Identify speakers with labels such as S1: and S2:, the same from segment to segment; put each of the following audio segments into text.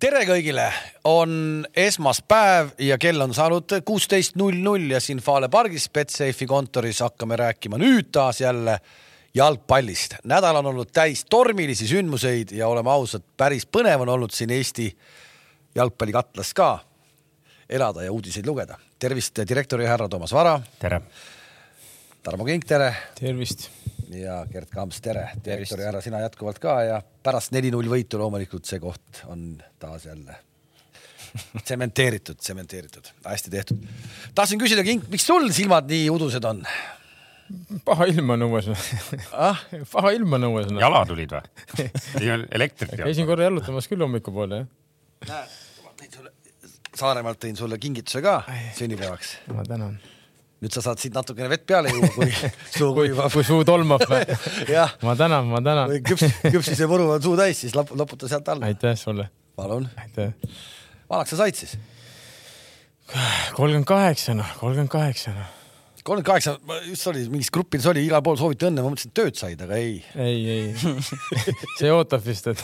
S1: tere kõigile , on esmaspäev ja kell on saanud kuusteist null null ja siin Fale pargis Betsafe'i kontoris hakkame rääkima nüüd taas jälle jalgpallist . nädal on olnud täis tormilisi sündmuseid ja oleme ausad , päris põnev on olnud siin Eesti jalgpallikatlas ka elada ja uudiseid lugeda . tervist , direktori härra Toomas Vara ,
S2: tere .
S1: Tarmo Kink , tere
S3: tervist .
S1: ja Gerd Kamps , tere . direktori härra , sina jätkuvalt ka ja pärast neli-null võitu loomulikult see koht on taas jälle tsementeeritud , tsementeeritud , hästi tehtud . tahtsin küsida , Kink , miks sul silmad nii udused on ?
S3: paha ilm on õues ah? . paha ilm on õues .
S2: jala tulid või ? ei olnud elektrit ei olnud .
S3: käisin korra jalutamas küll hommikupoole jah .
S1: Saaremaalt tõin sulle kingituse ka sünnipäevaks .
S3: ma tänan .
S1: nüüd sa saad siit natukene vett peale juua , kui suu
S3: kui ,
S1: kuivab .
S3: kui suu tolmab või
S1: jah ,
S3: ma tänan , ma tänan
S1: kui . küps , küpsise muru on suu täis , siis lap- loputa sealt alla .
S3: aitäh sulle .
S1: palun ,
S3: aitäh .
S1: vanaks sa said siis ?
S3: kolmkümmend kaheksa noh , kolmkümmend kaheksa noh .
S1: kolmkümmend kaheksa , just oli mingis grupis oli , igal pool sooviti õnne , ma mõtlesin , et tööd said , aga ei .
S3: ei , ei , see ootab vist , et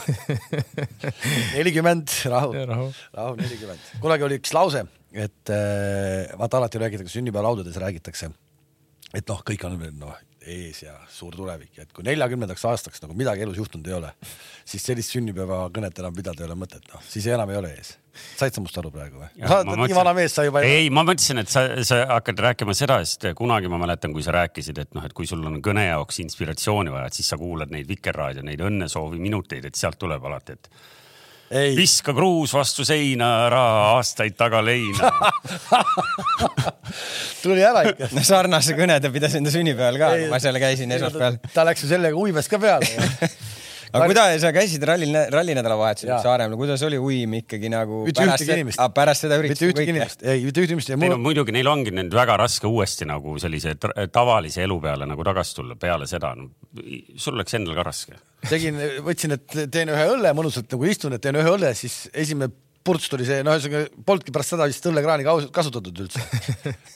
S1: nelikümmend , rahu ,
S3: rahu .
S1: rahu nelikümmend . kunagi oli üks lause , et äh, vaata alati räägitakse , sünnipäevalaudades räägitakse , et noh , kõik on veel noh ees ja suur tulevik ja et kui neljakümnendaks aastaks nagu midagi elus juhtunud ei ole , siis sellist sünnipäevakõnet enam pidada ei ole mõtet , noh siis enam ei ole ees . said sa must aru praegu või ? sa oled Ah, nii vana mees , sa juba
S2: ei , ma mõtlesin , et sa , sa hakkad rääkima seda , sest kunagi ma mäletan , kui sa rääkisid , et noh , et kui sul on kõne jaoks inspiratsiooni vaja , et siis sa kuulad neid Vikerraadio , neid õnnesoovi minuteid , et sealt tuleb alati , et
S1: ei ,
S2: viska kruus vastu seina , ära aastaid taga leina .
S1: tuli ära ikka .
S4: no sarnase kõne ta pidas enda sünnipäeval ka , ma seal käisin esmaspäeval .
S1: ta läks ju sellega uimes ka peale .
S4: aga kuidas sa käisid rallil , rallinädalavahetusel
S1: Jaa.
S4: Saaremaal , kuidas oli uim ikkagi nagu
S1: Mitte ühtegi inimest.
S4: ah, pärast seda
S1: mitte
S4: üritust
S1: ühtegi ? inimest , ei mitte ühtegi inimest ja
S2: ei
S1: mul
S2: no muidugi neil ongi nüüd väga raske uuesti nagu sellise tra- tavalise elu peale nagu tagasi tulla peale seda no, . sul oleks endal ka raske .
S1: tegin , võtsin , et teen ühe õlle , mõnusalt nagu istun , et teen ühe õlle , siis esimene purts tuli see , no ühesõnaga polnudki pärast seda vist õllekraani kaus- kasutatud üldse .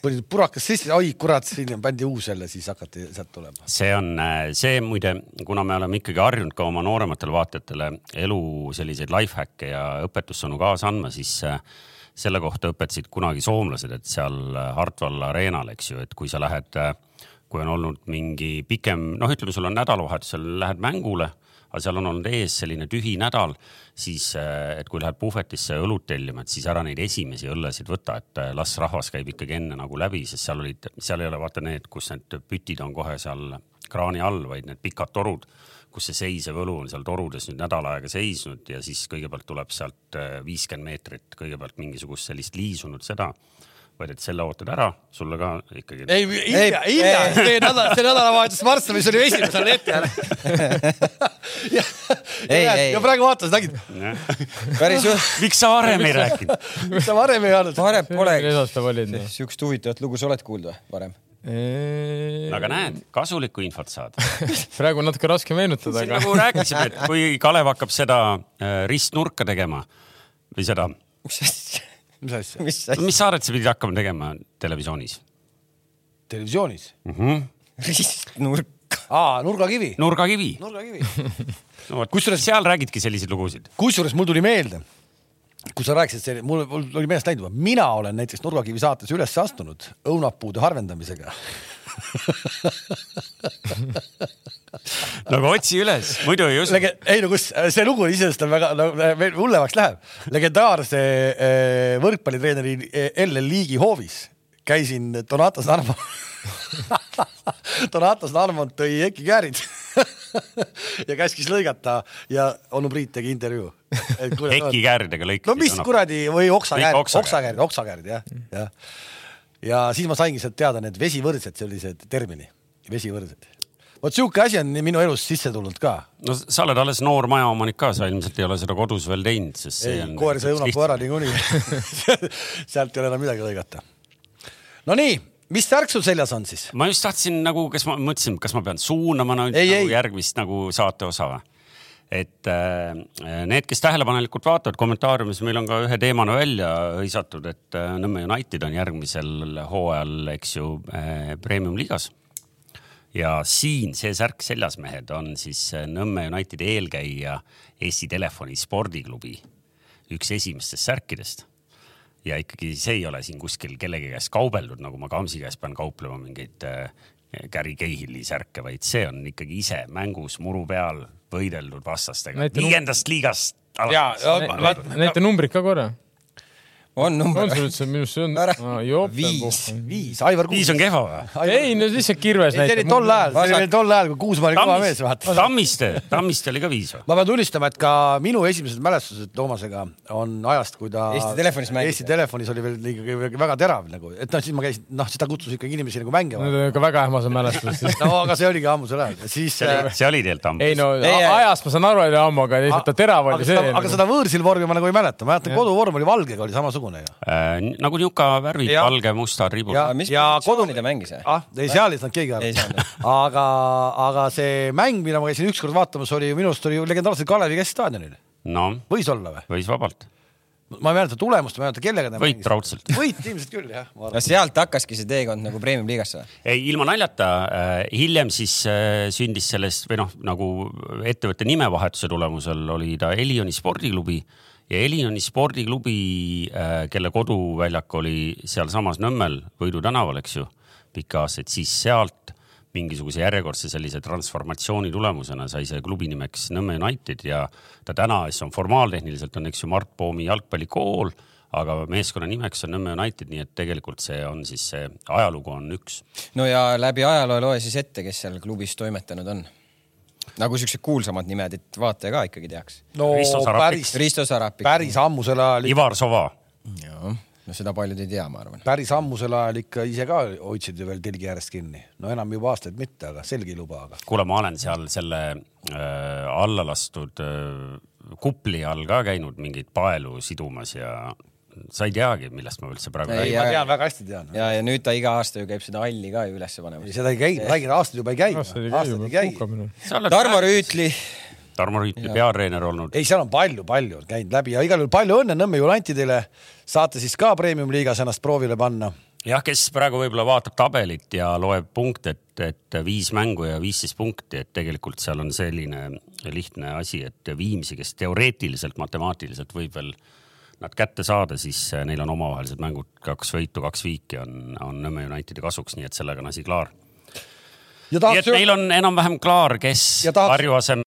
S1: panin purakas sisse , oi kurat , siin on- pandi uus jälle , siis hakati sealt tulema .
S2: see on äh, see muide , kuna me oleme ikkagi harjunud ka oma noorematele vaatajatele elu selliseid life häkke ja õpetussõnu kaasa andma , siis äh, selle kohta õpetasid kunagi soomlased , et seal äh, Hartwall Arenal , eks ju , et kui sa lähed , kui on olnud mingi pikem , noh , ütleme , sul on nädalavahetusel , lähed mängule aga seal on olnud ees selline tühi nädal , siis äh, et kui lähed puhvetisse õlut tellima , et siis ära neid esimesi õllesid võta , et äh, las rahvas käib ikkagi enne nagu läbi , sest seal olid , seal ei ole vaata need , kus need pütid on kohe seal kraani all , vaid need pikad torud , kus see seisev õlu on seal torudes nüüd nädal aega seisnud ja siis kõigepealt tuleb sealt äh, viiskümmend meetrit kõigepealt mingisugust sellist liisunud seda , vaid et selle ootad ära , sulle ka ikkagi .
S1: ei , hilja , hilja , see nädal , see nädalavahetus Varssavis oli esimene , seal ette ära . ja,
S4: Ei,
S1: ja,
S4: ei.
S1: ja praegu vaata , sa nägid ,
S4: päris juht ,
S2: miks sa varem ei rääkinud ?
S1: mis sa varem ei olnud .
S4: varem pole
S3: esmaspäev olid noh .
S4: siukest huvitavat lugu , sa oled kuulnud või varem ?
S2: aga näed , kasulikku infot saad
S3: praegu on natuke raske meenutada ,
S2: siin
S3: aga
S2: nagu rääkisime , et kui Kalev hakkab seda äh, ristnurka tegema või seda ,
S4: mis asja ,
S1: mis asja ?
S4: mis asja ,
S2: mis saadet sa pidid hakkama tegema televisioonis
S1: televisioonis .
S2: mm ? -hmm.
S4: ristnurk .
S1: aa , Nurgakivi .
S2: nurgakivi no, .
S1: nurgakivi .
S2: vot kusjuures seal räägidki selliseid lugusid .
S1: kusjuures mul tuli meelde , kui sa rääkisid , mul, mul oli meelest läinud juba , mina olen näiteks Nurgakivi saates üles astunud õunapuude harvendamisega .
S2: nagu otsi üles , muidu ei usu .
S1: Lege- , ei no kus , see lugu iseenesest on väga no, , veel hullemaks läheb . legendaarse eh, võrkpallitreeneri eh, Ellen Liigi hoovis käisin Donatas Narmo , Donatas Narmont tõi Eki käärid ja käskis lõigata ja onu Priit tegi intervjuu .
S2: teki kääridega lõikad .
S1: no mis ? kuradi või oksakäärid ,
S2: Ikka oksakäärid.
S1: oksakäärid , oksakäärid jah , jah . ja siis ma saingi sealt teada need vesivõrdsed , see oli see termini , vesivõrdsed . vot sihuke asi on minu elus sisse tulnud ka .
S2: no sa oled alles noor majaomanik ka , sa ilmselt ei ole seda kodus veel teinud , sest see
S1: ei
S2: on ,.
S1: koer sai õunapuu ära . niikuinii . sealt ei ole enam midagi lõigata . no nii , mis särk sul seljas on siis ?
S2: ma just tahtsin nagu , kas ma mõtlesin , kas ma pean suunama nüüd
S1: Ei,
S2: nagu
S1: ei.
S2: järgmist nagu saate osa või ? et äh, need , kes tähelepanelikult vaatavad kommentaariumis , meil on ka ühe teemana välja hõisatud , et äh, Nõmme United on järgmisel hooajal , eks ju äh, , premium-liigas . ja siin see särk seljas , mehed , on siis äh, Nõmme Unitedi eelkäija Eesti Telefoni spordiklubi üks esimestest särkidest ja ikkagi see ei ole siin kuskil kellegi käest kaubeldud , nagu ma Kamsi käest pean kauplema mingeid äh, Gary Cahill'i särke , vaid see on ikkagi ise mängus muru peal võideldud vastastega
S3: Näita num-
S2: viiendast liigast .
S1: ja ,
S3: näita numbrid ka korra .
S4: on
S3: on
S4: number
S3: sul . üldse , minu arust see
S4: Ära.
S3: on .
S4: Viis. .
S1: viis , Aivar
S2: viis
S1: Kuus .
S2: on kehva või ?
S3: ei , no lihtsalt kirves
S1: see oli
S3: näitab .
S1: tol ajal , see
S4: Vasak-
S1: oli tol ajal , kui Kuusmaa oli kõva mees , vaata .
S2: Tammiste , Tammiste , Tammiste oli ka viis või ?
S1: ma pean tunnistama , et ka minu esimesed mälestused Toomasega on ajast , kui ta
S4: Eesti Telefonis mängis.
S1: Eesti Telefonis oli veel ikkagi väga terav nagu , et noh , siis ma käisin , noh , seda kutsus ikkagi inimesi nagu mängima .
S3: Need on ikka väga ähmased mälestused .
S1: no aga see oligi ammusel ajal , siis äh,
S2: see oli , see oli tegelikult
S3: ei
S2: Tammiste .
S3: no
S4: Ei, ei.
S3: a- ajast ma saan aru , oli ammu , aga lihtsalt ta terav
S1: aga
S3: oli see .
S1: seda, aga seda võõrsilvormi ma nagu ei mäleta , ma mäletan , koduvorm oli valgega , oli samasugune ju .
S2: nagu niuka värvid ,
S1: Jah.
S2: valge , mustad ribud .
S1: Ja-
S4: mis
S1: ja
S4: positsiooni ta mängis ?
S1: ah , ei seal ei saanud keegi
S4: Ei
S1: aru
S4: saanud. .
S1: aga , aga see mäng , mida ma käisin ükskord vaatamas , oli ju minu arust oli ju legendaarselt Kalevi keskstaadionil ,
S2: noh ,
S1: võis olla või ?
S2: võis vabalt .
S1: ma ei mäleta tulemust , ma ei mäleta , kellega ta
S2: Võit
S1: mängis .
S2: raudselt.
S1: võit ilmselt küll jah , ma
S4: no
S1: arvan .
S4: sealt hakkaski see teekond nagu Premium-liigasse või ?
S2: ei , ilma naljata , hiljem siis äh, sündis sellest või noh , nagu ettevõtte nimevahetuse tulemusel oli ta Elioni spordiklubi ja Elioni spordiklubi , kelle koduväljak oli sealsamas Nõmmel Võidu tänaval , eks ju , pikki aastaid , siis sealt mingisuguse järjekordse sellise transformatsiooni tulemusena sai see klubi nimeks Nõmme United ja ta täna siis on formaaltehniliselt on , eks ju , Mart Poomi jalgpallikool , aga meeskonna nimeks on Nõmme United , nii et tegelikult see on siis see ajalugu on üks .
S4: no ja läbi ajaloo loe siis ette , kes seal klubis toimetanud on . nagu siuksed kuulsamad nimed , et vaataja ka ikkagi teaks .
S1: no
S2: Risto Sarapik.
S1: päris ,
S4: Risto Sarapik .
S1: päris ammusel ajal ,
S2: Ivar Sova ,
S4: jah , no seda paljud ei tea , ma arvan .
S1: päris ammusel ajal ikka ise ka hoidsid ju veel tilgi äärest kinni . no enam juba aastaid mitte , aga selge ei luba , aga .
S2: kuule , ma olen seal selle äh, alla lastud äh, kupli all ka käinud mingeid paelu sidumas ja sa ei teagi , millest ma üldse praegu
S4: Ei,
S2: räägin .
S4: jah.
S1: ma tean , väga hästi tean .
S4: ja , ja nüüd ta iga aasta ju käib seda halli ka ju ülesse panemas .
S1: seda ei käi , ma räägin , aastaid juba ei käi . aastaid ei käi .
S4: Tarmo Rüütli ,
S2: Tarmo Rüütli peatreener olnud .
S1: ei , seal on palju-palju on käinud läbi ja igal juhul palju õnne Nõmme Unitedile . saate siis ka premium-liigas ennast proovile panna .
S2: jah , kes praegu võib-olla vaatab tabelit ja loeb punkte , et , et viis mängu ja viisteist punkti , et tegelikult seal on selline lihtne asi , et Viimsi , kes teoreetiliselt , matemaatiliselt võib veel nad kätte saada , siis äh, neil on omavahelised mängud kaks võitu , kaks viiki on , on Nõmme Unitedi kasuks , nii et sellega on asi klaar .
S1: ja
S2: nii et
S1: tahaks
S2: neil on enam-vähem klaar , kes
S1: Ja tahaks-
S2: Harju asemel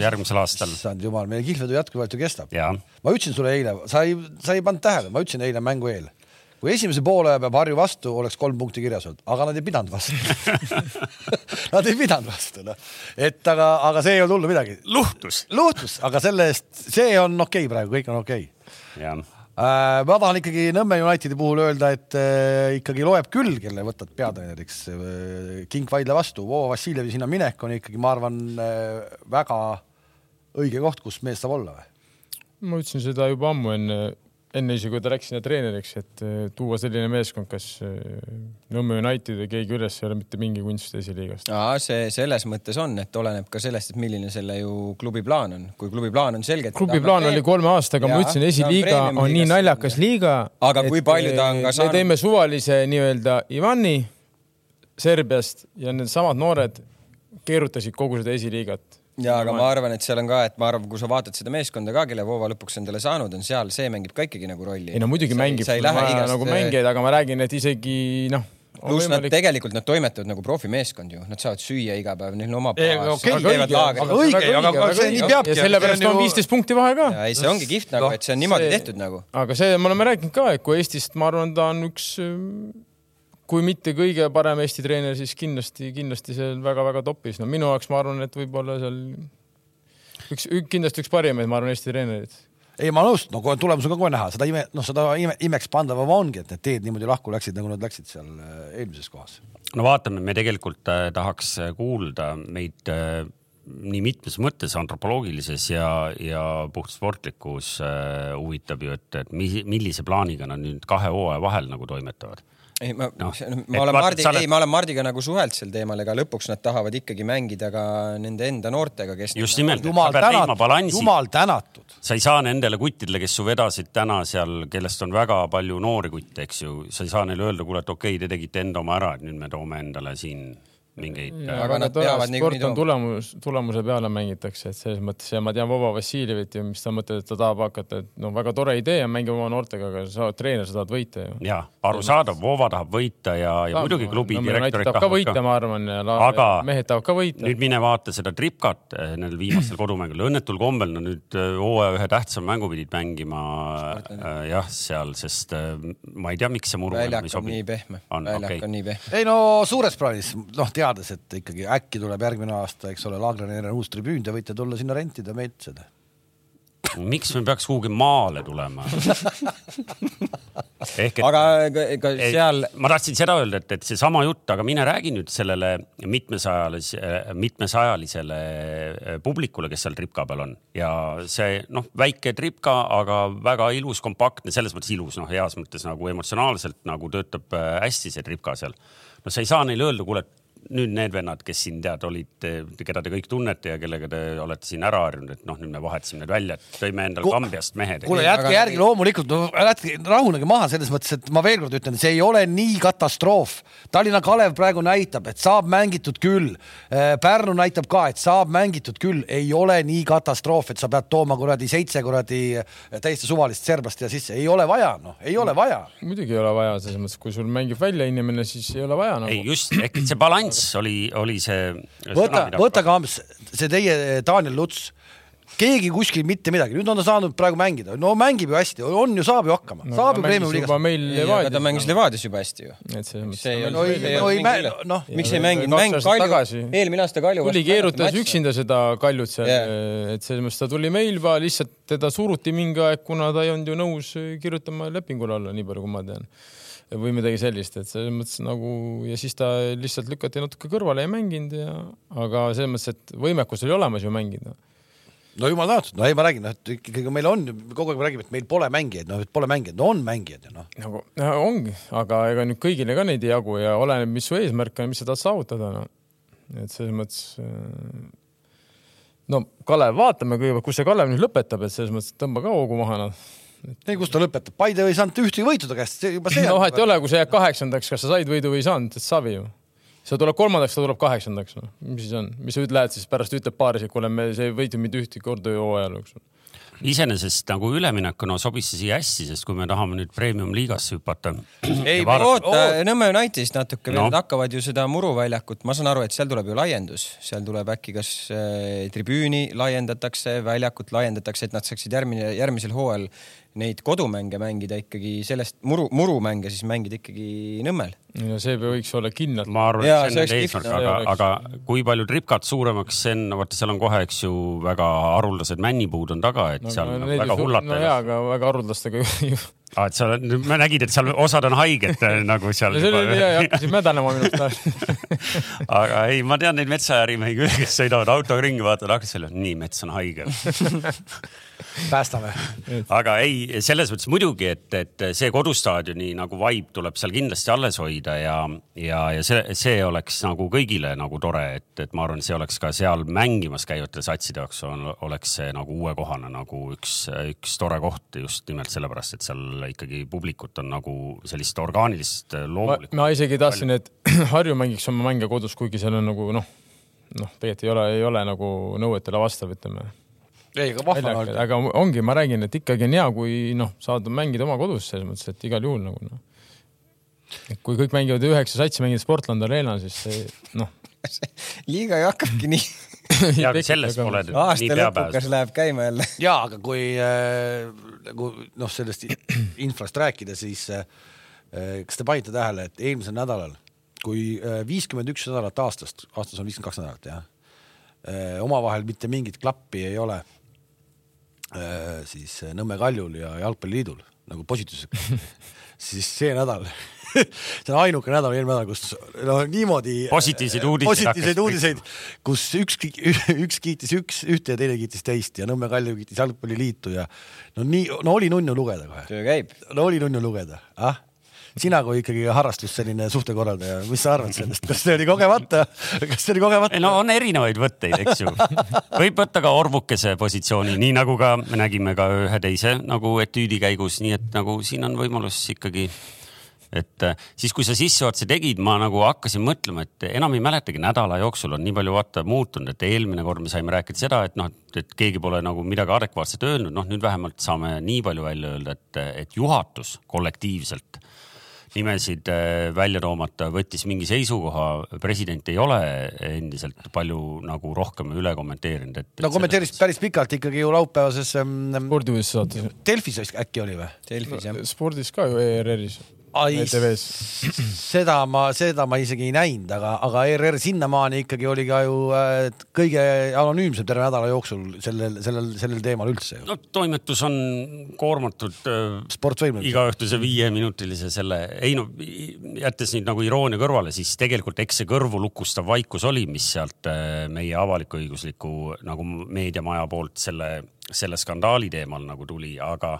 S2: järgmisel aastal
S1: issand jumal , meil kihlvedu jätkuvalt ju kestab .
S2: ja
S1: ma ütlesin sulle eile , sa ei , sa ei pannud tähele , ma ütlesin eile mängu eel . kui esimese poole peab Harju vastu , oleks kolm punkti kirjas olnud , aga nad ei pidanud vastu . Nad ei pidanud vastu , noh . et aga , aga see ei olnud hullu midagi .
S2: luhtus .
S1: luhtus , aga selle eest , see on okei okay praegu , kõik on okei okay. .
S2: jah
S1: ma tahan ikkagi Nõmme Unitedi puhul öelda , et äh, ikkagi loeb küll , kelle võtad peatreeneriks . King Vaidla vastu , Vova Vassiljevi sinna minek on ikkagi , ma arvan , väga õige koht , kus mees saab olla või ?
S3: ma ütlesin seda juba ammu enne , enne isegi kui ta läks sinna treeneriks , et eh, tuua selline meeskond , kas eh, Nõmme United või keegi üles ei ole mitte mingi kunst esiliigast .
S4: see selles mõttes on , et oleneb ka sellest , et milline selle ju klubi plaan on . kui klubi plaan on selge .
S3: klubi plaan oli kolme aastaga , ma ütlesin , esiliiga on nii naljakas liiga .
S4: Aga kui palju ta on ka saanud-
S3: me teeme suvalise nii-öelda Ivani Serbiast ja needsamad noored keerutasid kogu seda esiliigat .
S4: ja aga ma arvan , et seal on ka , et ma arvan , kui sa vaatad seda meeskonda ka , kelle Voova lõpuks endale saanud on , seal see mängib ka ikkagi nagu rolli .
S3: ei no muidugi mängib ,
S4: sa ei
S3: ma
S4: lähe igast
S3: nagu mängijaid , aga ma räägin , et isegi noh .
S4: pluss nad tegelikult , nad toimetavad nagu profimeeskond ju , nad saavad süüa iga päev , neil on oma
S3: Ei, aga okei, aga õige, aga
S1: õige, aga- aga see nii peabki,
S3: ja sellepärast
S1: see on
S3: on
S1: ju-
S3: viisteist punkti vahe ka .
S4: ja ei , see ongi kihvt nagu , et see on niimoodi tehtud nagu .
S3: aga see , me oleme rääkinud ka , et kui Eestist , ma arvan , ta on üks , kui mitte kõige parem Eesti treener , siis kindlasti , kindlasti seal väga-väga topis . no minu jaoks ma arvan , et võib-olla seal üks , kindlasti üks parimaid , ma arvan , Eesti treenereid .
S1: ei , ma nõustun , no kohe tulemus on ka kohe näha , seda ime , noh , seda ime, imekspandavam ongi , et need teed niimoodi lahku läksid , nagu nad läksid seal äh, eelmises kohas .
S2: no vaatame , me tegelikult äh, tahaks kuulda meid äh, nii mitmes mõttes antropoloogilises ja , ja puhtsportlikus äh, huvitab ju , et , et mis , millise plaaniga nad nüüd kahe hooaja vahel nagu toimetavad .
S4: ei , ma
S2: Noh,
S4: no, ,
S2: et
S4: ma olen
S2: vaata,
S4: Mardi
S2: sa , oled-
S4: ei , ma olen Mardiga nagu suhelt sel teemal , ega lõpuks nad tahavad ikkagi mängida ka nende enda noortega , kes .
S2: just nimelt , sa
S1: jumal
S2: pead leidma
S1: tänatud ,
S2: balansi ,
S1: jumal tänatud .
S2: sa ei saa nendele kuttidele , kes su vedasid täna seal , kellest on väga palju noori kutte , eks ju , sa ei saa neile öelda , kuule , et okei okay, , te tegite enda oma ära , et nüüd me toome endale siin mingeid . äh,
S4: aga nad peavad niikuinii
S3: sport on
S4: tooma.
S3: tulemus , tulemuse peale mängitakse , et selles mõttes ja ma tean Vova Vassiljevit ju , mis ta mõtleb , et ta tahab hakata , et noh , väga tore idee on mängima oma noortega , aga sa oled treener , sa tahad võita ju .
S2: ja arusaadav , Vova tahab võita ja , ja muidugi klubi no, direktorid
S3: tahab ka
S2: tahavad
S3: võita ,
S2: ka .
S3: ma arvan , ja la-
S2: Aga-
S3: mehed tahavad ka võita .
S2: nüüd mine vaata seda tripkat eh, nendel viimastel kodumängudel , õnnetul kombel nad nüüd eh, hooaja ühe tähtsama mängu pidid mängima eh, jah , seal , sest eh, ma ei tea , miks see muru enam ei
S4: nagu väljak on
S2: sobi
S4: nii . pehme ,
S2: on
S4: väljak
S2: okei
S4: on nii pehme .
S1: ei no suures plaanis , noh , teades , et ikkagi äkki tuleb järgmine aasta , eks ole , Laagrenil on uus tribüün , te võite tulla sinna rentida meilt seda .
S2: miks me peaks kuhugi maale tulema ? ehk et
S4: aga ka, ka
S2: Ei,
S4: seal ,
S2: ma tahtsin seda öelda , et , et seesama jutt , aga mine räägi nüüd sellele mitmesajalise , mitmesajalisele publikule , kes seal tripka peal on ja see noh , väike tripka , aga väga ilus , kompaktne , selles mõttes ilus , noh , heas mõttes nagu emotsionaalselt nagu töötab äh, hästi see tripka seal . no sa ei saa neile öelda , kuule , nüüd need vennad , kes siin tead olid , keda te kõik tunnete ja kellega te olete siin ära harjunud , et noh , nüüd me vahetasime need välja , tõime endale
S1: Ku-
S2: Kambjast mehed .
S1: kuule ,
S4: Ei,
S1: jätke
S4: aga-
S1: järgi loomulikult , no jätke , rahunege maha selles mõttes , et ma veel kord ütlen , see ei ole nii katastroof . Tallinna Kalev praegu näitab , et saab mängitud küll . Pärnu näitab ka , et saab mängitud küll , ei ole nii katastroof , et sa pead tooma kuradi seitse kuradi äh, täiesti suvalist serblast ja sisse , ei ole vaja , noh , ei ole vaja .
S3: muidugi ei ole vaja selles mõttes , kui sul mängib välja inimene , siis ei ole vaja
S2: ei
S3: nagu .
S2: just , ehk et see balanss oli , oli see .
S1: võta , võta . Kamps , see teie äh, Daniel Luts , keegi kuskil mitte midagi , nüüd on ta saanud praegu mängida , no mängib ju hästi , on ju , saab ju hakkama , saab ju Premiumi liigas .
S3: nagu meil
S4: aga
S3: Levadias .
S4: ta mängis Levadias juba hästi ju .
S3: et selles mõttes
S4: see ei
S1: No ei-
S4: olnud
S1: no ei mä-
S4: üle-
S1: noh.
S4: miks
S3: Ja
S4: ei mänginud ,
S3: kaks
S4: mäng
S3: aastat
S4: Kalju
S3: tagasi. ,
S4: eelmine aasta Kalju
S3: tuli keerutas . üksinda seda Kaljut seal
S4: Jaa.
S3: yeah. , et selles mõttes ta tuli meil juba lihtsalt teda suruti mingi aeg , kuna ta ei olnud ju nõus kirjutama lepingule alla , nii palju kui ma tean . või midagi sellist , et selles mõttes nagu ja siis ta lihtsalt lükati natuke kõrvale , ei mänginud ja , aga selles mõttes , et võimekus oli olemas ju mängida .
S1: no jumal tänatud , no ei , ma räägin , noh , et ikkagi meil on , kogu aeg me räägime , et meil pole mängijaid , noh , et pole mängijaid , no on mängijad ju noh .
S3: nagu no, ongi , aga ega nüüd kõigile ka neid ei jagu ja oleneb , mis su eesmärk on , mis sa tahad saavutada no. . et selles mõttes . no Kalev , vaatame kõigepealt , kus see Kalev nüüd lõpetab , et selles mõttes tõmba ka hoogu maha noh .
S1: ei , kus ta lõpetab , Paide ei saanud ühtegi võitu ta käest , see juba see .
S3: no vahet Noh, ei . ole , kui sa jääd kaheksandaks , kas sa said võidu või ei saanud , et savi ju . sa tuleb kolmandaks , ta tuleb kaheksandaks , noh , mis siis on , mis sa üt- lähed siis pärast ütleb paaris , et kuule , me see ei võitu mitte ühtegi korda ju hooajal jooksul .
S2: iseenesest nagu üleminekuna sobis see siia hästi , sest kui me tahame nüüd premium liigasse hüpata .
S1: Ei,
S4: oota
S1: Oo- ,
S4: Nõmme Unitedist natuke veel
S2: No.
S4: no. , hakkavad ju seda muruväljakut , ma saan aru , et seal tuleb ju laiendus , seal tuleb äkki kas äh, tribüüni laiendatakse , väljakut laiendatakse , et nad saaksid järgmine , järgmisel hooajal neid kodumänge mängida ikkagi sellest muru , murumänge siis mängida ikkagi Nõmmel .
S3: ja see võiks olla kindlalt .
S2: ma arvan ,
S4: Jaa,
S2: et see on
S4: see
S2: nende
S4: oleks
S2: eesmärk ,
S4: kihvt.
S2: aga
S3: Jaa, ,
S2: aga kui palju tripkat suuremaks , see on , vaata , seal on kohe , eks ju , väga haruldased männipuud on taga , et seal on väga hullata
S3: no
S2: ei
S3: jaa ,
S2: lasta .
S3: aga väga haruldastega ju .
S2: aa , et seal on , ma nägin , et seal osad on haiged nagu seal .
S3: no see oli , hakkasid mädanema minu arust .
S2: aga ei , ma tean neid metsaärimehi küll , kes sõidavad autoga ringi , vaatavad aknast välja , nii mets on haige .
S1: päästame .
S2: aga ei , selles mõttes muidugi , et , et see kodustaadioni nagu vibe tuleb seal kindlasti alles hoida ja , ja , ja see , see oleks nagu kõigile nagu tore , et , et ma arvan , see oleks ka seal mängimas käivate satside jaoks on , oleks see nagu uuekohane nagu üks , üks tore koht just nimelt sellepärast , et seal ikkagi publikut on nagu sellist orgaanilist
S3: ma,
S2: loomulikku .
S3: ma isegi tahtsin , et Harju mängiks oma mänge kodus , kuigi seal on nagu noh , noh , tegelikult ei ole , ei ole nagu nõuetele vastav , ütleme .
S1: ei , aga vahva on olnud .
S3: aga ongi , ma räägin , et ikkagi on hea , kui noh , saad mängida oma kodus selles mõttes , et igal juhul nagu noh . kui kõik mängivad üheksa satsi , mängivad Sportlandi Arenal , siis see noh .
S4: liiga ju hakkabki nii ,
S2: ja sellest pole nüüd nii
S4: aasta
S2: pea
S4: lõpukas
S2: pääsenud .
S4: läheb käima jälle .
S1: ja aga kui äh, nagu noh , sellest infrast rääkida , siis äh, kas te panite tähele , et eelmisel nädalal , kui äh, viiskümmend üks nädalat aastast , aastas on viiskümmend kaks nädalat jah äh, , omavahel mitte mingit klappi ei ole äh, , siis Nõmme Kaljul ja Jalgpalliliidul nagu positiivselt , siis see nädal , see on ainuke nädal , eelmine nädal , kus no niimoodi äh,
S2: Positiivseid uudiseid
S1: positiivseid
S2: hakkasid
S1: uudiseid uudiseid , kus üks , üks kiitis üks , ühte ja teine kiitis teist ja Nõmme Kalju kiitis jalgpalliliitu ja no nii , no oli nunnu lugeda kohe ,
S4: töö käib .
S1: no oli nunnu lugeda , ah sina kui ikkagi harrastus selline suhtekorraldaja , mis sa arvad sellest , kas see oli kogemata , kas see oli kogemata ?
S2: ei no on erinevaid võtteid , eks ju . võib võtta ka orvukese positsiooni , nii nagu ka me nägime ka ühe teise nagu etüüdi käigus , nii et nagu siin on võimalus ikkagi et äh, siis , kui sa sissejuhatuse tegid , ma nagu hakkasin mõtlema , et enam ei mäletagi , nädala jooksul on nii palju vaata muutunud , et eelmine kord me saime rääkida seda , et noh , et keegi pole nagu midagi adekvaatset öelnud , noh nüüd vähemalt saame nii palju välja öelda , et , et juhatus kollektiivselt nimesid äh, välja toomata , võttis mingi seisukoha , president ei ole endiselt palju nagu rohkem üle kommenteerinud , et .
S1: no kommenteeris päris pikalt ikkagi ju laupäevases ähm,
S3: spordiuudiste saates .
S1: Delfis vist äkki oli või ?
S4: Delfis jah .
S3: spordis ka ju E ERR-is .
S1: Ai,
S3: ETV-s .
S1: seda ma , seda ma isegi ei näinud , aga , aga ERR sinnamaani ikkagi oli ka ju äh, kõige anonüümsem terve nädala jooksul sellel , sellel , sellel teemal üldse ju .
S2: no toimetus on koormatud äh,
S1: sportvõimeline .
S2: igaühtuse viieminutilise selle , ei no jättes nüüd nagu iroonia kõrvale , siis tegelikult eks see kõrvulukustav vaikus oli , mis sealt äh, meie avalik-õigusliku nagu meediamaja poolt selle , selle skandaali teemal nagu tuli , aga ,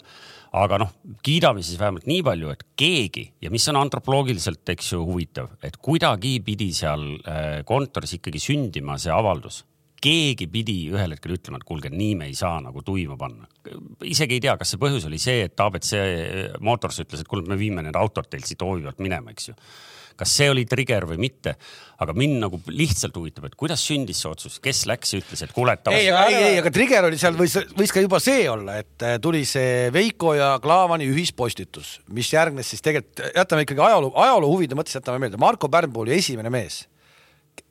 S2: aga noh , kiidame siis vähemalt nii palju , et keegi ja mis on antropoloogiliselt , eks ju , huvitav , et kuidagipidi seal äh, kontoris ikkagi sündima see avaldus keegi pidi ühel hetkel ütlema , et kuulge , nii me ei saa nagu tuima panna . isegi ei tea , kas see põhjus oli see , et abc Motors ütles , et kuule , me viime need autod teilt siit hoovi pealt minema , eks ju . kas see oli trigger või mitte , aga mind nagu lihtsalt huvitab , et kuidas sündis see otsus , kes läks ja ütles , et kuule , et
S1: ei ,
S2: davai-
S1: ei , ei , aga trigger oli seal , võis , võis ka juba see olla , et äh, tuli see Veiko ja Klaavani ühispostitus , mis järgnes siis tegelikult , jätame ikkagi ajaloo , ajaloo huvide mõttes jätame meelde , Marko Pärnpuu oli esimene mees ,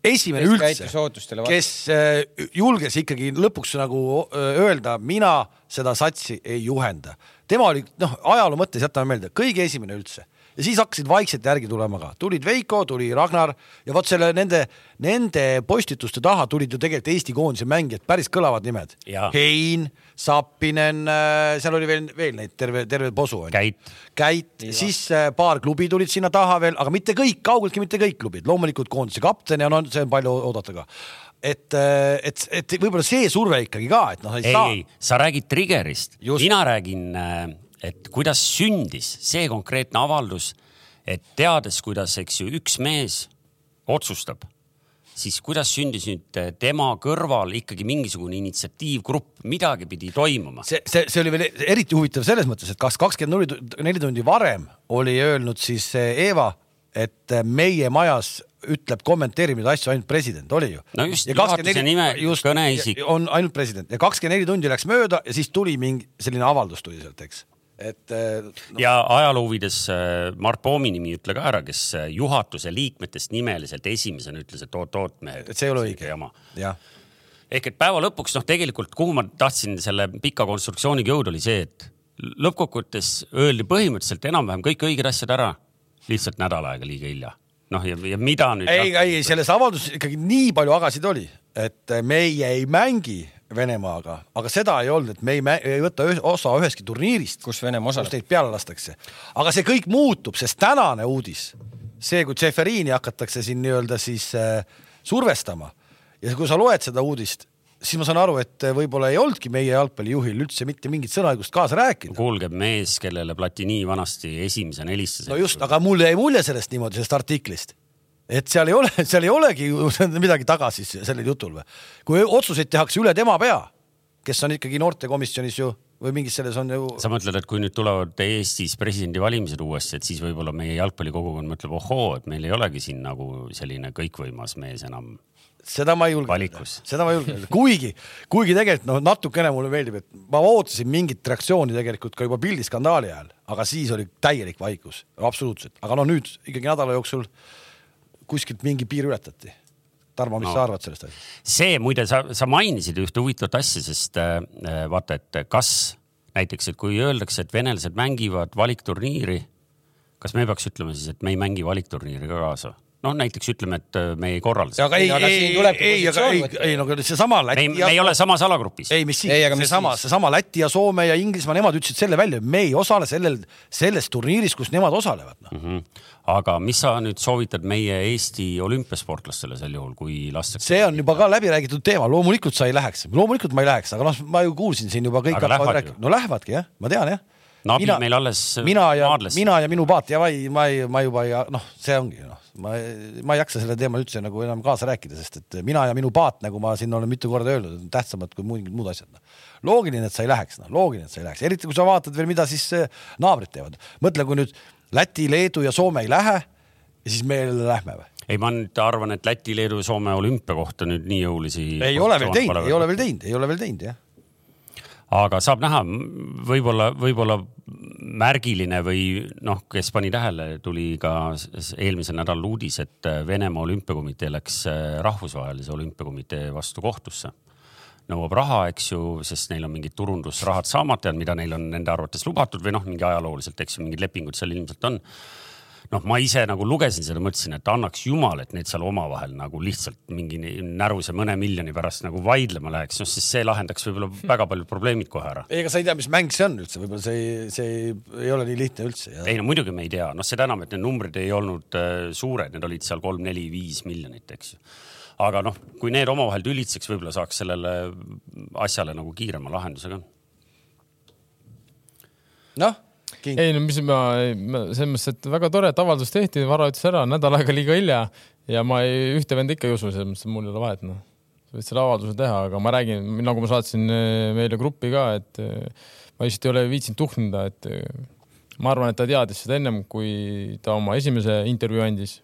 S1: esimene
S4: Kes
S1: üldse
S4: käitus ootustele , vastu.
S1: kes äh, julges ikkagi lõpuks nagu öö, öelda , mina seda satsi ei juhenda . tema oli noh , ajaloo mõttes jätame meelde , kõige esimene üldse ja siis hakkasid vaikselt järgi tulema ka , tulid Veiko , tuli Ragnar ja vot selle nende , nende postituste taha tulid ju tegelikult Eesti koondise mängijad , päris kõlavad nimed
S2: Jaa. .
S1: Hein , Sappinen , seal oli veel , veel neid terve , terve posu on ju
S2: Käit.
S1: Käit , siis äh, paar klubi tulid sinna taha veel , aga mitte kõik , kaugeltki mitte kõik klubid , loomulikult koondise kapten ja no see on palju oodata ka . et , et , et võib-olla see surve ikkagi ka , et noh , ei
S2: ei ,
S1: saa .
S2: ei , sa räägid trigger'ist ,
S1: Just.
S2: mina räägin , et kuidas sündis see konkreetne avaldus , et teades , kuidas , eks ju , üks mees otsustab , siis kuidas sündis nüüd eh, tema kõrval ikkagi mingisugune initsiatiivgrupp , midagi pidi toimuma .
S1: see , see , see oli veel eriti huvitav selles mõttes , et kas kakskümmend neli , neli tundi varem oli öelnud siis eh, Eeva , et eh, meie majas ütleb , kommenteerib neid asju ainult president , oli ju ?
S2: No just, juhatuse nime- kõneisik.
S1: on ainult president ja kakskümmend neli tundi läks mööda ja siis tuli mingi selline avaldus tuli sealt , eks , et eh,
S2: ja ajaloo huvides eh, Mart Poomi nimi ütle ka ära , kes eh, juhatuse liikmetest nimeliselt esimesena ütles , et oot-oot mehed .
S1: et see ei ole õige .
S2: jama
S1: jah
S2: ehk et päeva lõpuks noh , tegelikult kuhu ma tahtsin selle pika konstruktsiooniga jõuda , oli see , et lõppkokkuvõttes öeldi põhimõtteliselt enam-vähem kõik õiged asjad ära , lihtsalt nädal aega liiga hilja . noh , ja , ja mida nüüd . noh,
S1: ei , ei , ei selles avalduses ikkagi nii palju agasid oli , et meie ei mängi Venemaaga , aga seda ei olnud , et me ei, mä- ei võta ühe, osa üheski turniirist ,
S4: kus Venemaa
S1: kus
S4: osaleb .
S1: neid peale lastakse . aga see kõik muutub , sest tänane uudis , see , kui Tšeferiini hakatakse siin nii-öelda siis äh, survestama ja kui sa loed seda uudist , siis ma saan aru , et võib-olla ei olnudki meie jalgpallijuhil üldse mitte mingit sõnaõigust kaasa rääkida .
S2: kuulge , mees , kellele Platini vanasti esimesena helistas .
S1: no just , aga mulle jäi mulje sellest niimoodi , sellest artiklist , et seal ei ole , seal ei olegi ju midagi taga siis sellel jutul või . kui otsuseid tehakse üle tema pea , kes on ikkagi noortekomisjonis ju või mingis selles on ju ,
S2: sa mõtled , et kui nüüd tulevad Eestis presidendivalimised uuesti , et siis võib-olla meie jalgpallikogukond mõtleb , ohoo , et meil ei olegi siin nagu selline kõikvõimas mees enam
S1: seda ma ei julge .
S2: valikus .
S1: seda ma ei julge öelda , kuigi , kuigi tegelikult noh , natukene mulle meeldib , et ma ootasin mingit reaktsiooni tegelikult ka juba pildiskandaali ajal , aga siis oli täielik vaikus , absoluutselt , aga no nüüd ikkagi nädala jooksul kuskilt mingi piir ületati . Tarmo , mis no. sa arvad sellest asjast ?
S2: see muide , sa , sa mainisid ühte huvitavat asja , sest äh, vaata , et kas näiteks , et kui öeldakse , et venelased mängivad valikturniiri , kas me peaks ütlema siis , et me ei mängi valikturniiri ka kaasa ? noh , näiteks ütleme , et äh, me ei korralda seda .
S1: aga ei ,
S4: Aga
S1: ei ,
S4: siin
S1: ei ,
S4: tulebki
S1: ei , aga
S4: positsioon
S1: ei
S4: võtta. ,
S1: ei no aga seesama
S2: me
S1: Läti
S2: ei , me ei ole samas alagrupis .
S1: ei , mis siis ,
S4: Ei, aga mis
S1: seesama ,
S4: siis?
S1: seesama Läti ja Soome ja Inglismaa , nemad ütlesid selle välja , me ei osale sellel , selles turniiris , kus nemad osalevad noh. no. .
S2: Mhm. aga mis sa nüüd soovitad meie Eesti olümpiasportlastele sel juhul , kui lastakse ?
S1: see on juba ka läbi räägitud teema , loomulikult sa ei läheks , loomulikult ma ei läheks , aga noh , ma ju kuulsin siin juba kõik
S2: Aga
S1: hakkavad
S2: lähevad
S1: rääkima. no lähevadki jah , ma tean jah .
S2: Nabi meil alles
S1: mina ja
S2: äh, maadles. ,
S1: mina ja minu paat ja ma ei , ma ei , ma juba ei , noh , see ongi noh , ma , ma ei jaksa sellel teemal üldse nagu enam kaasa rääkida , sest et mina ja minu paat , nagu ma siin olen mitu korda öelnud , on tähtsamad kui mingid muud asjad no. . noh, loogiline , et sa ei läheks , noh , loogiline , et sa ei läheks , eriti kui sa vaatad veel , mida siis eh, naabrid teevad . äh, mõtle , kui nüüd Läti , Leedu ja Soome ei lähe ja siis me jälle lähme või ?
S2: ei , ma nüüd arvan , et Läti , Leedu ja Soome olümpia kohta nüüd nii jõulisi .
S1: ei ole veel teinud , ei ole veel teinud , ei ole veel teinud jah .
S2: aga saab näha , võib-olla , võib-olla märgiline või noh , kes pani tähele , tuli ka s- s- eelmisel nädalal uudis , et äh, Venemaa olümpiakomitee läks eh, rahvusvahelise olümpiakomitee vastu kohtusse . nõuab raha , eks ju , sest neil on mingid turundusrahad saamata jäänud , mida neil on nende arvates lubatud või noh , mingi ajalooliselt , eks ju , mingid lepingud seal ilmselt on noh , ma ise nagu lugesin seda , mõtlesin , et annaks jumal , et need seal omavahel nagu lihtsalt mingi ni- näruse mõne miljoni pärast nagu vaidlema läheks , noh siis see lahendaks võib-olla väga paljud probleemid kohe ära .
S1: ega sa ei tea , mis mäng see on üldse , võib-olla see ei , see ei, ei ole nii lihtne üldse ja
S2: ei no muidugi me ei tea , noh seda enam , et need numbrid ei olnud äh, suured , need olid seal kolm-neli-viis miljonit , eks ju . aga noh , kui need omavahel tülitseks , võib-olla saaks sellele asjale nagu kiirema lahenduse ka .
S1: noh , king ,
S3: ei no mis ma, ma , selles mõttes , et väga tore , et avaldus tehti , vara ütles ära nädal aega liiga hilja ja ma ei, ühte venda ikka ei usu , selles mõttes , et mul ei ole vahet , noh . sa võid selle avalduse teha , aga ma räägin , nagu ma saatsin eh, meile gruppi ka , et eh, ma lihtsalt ei ole viitsinud tuhnida , et eh, ma arvan , et ta teadis seda ennem , kui ta oma esimese intervjuu andis ,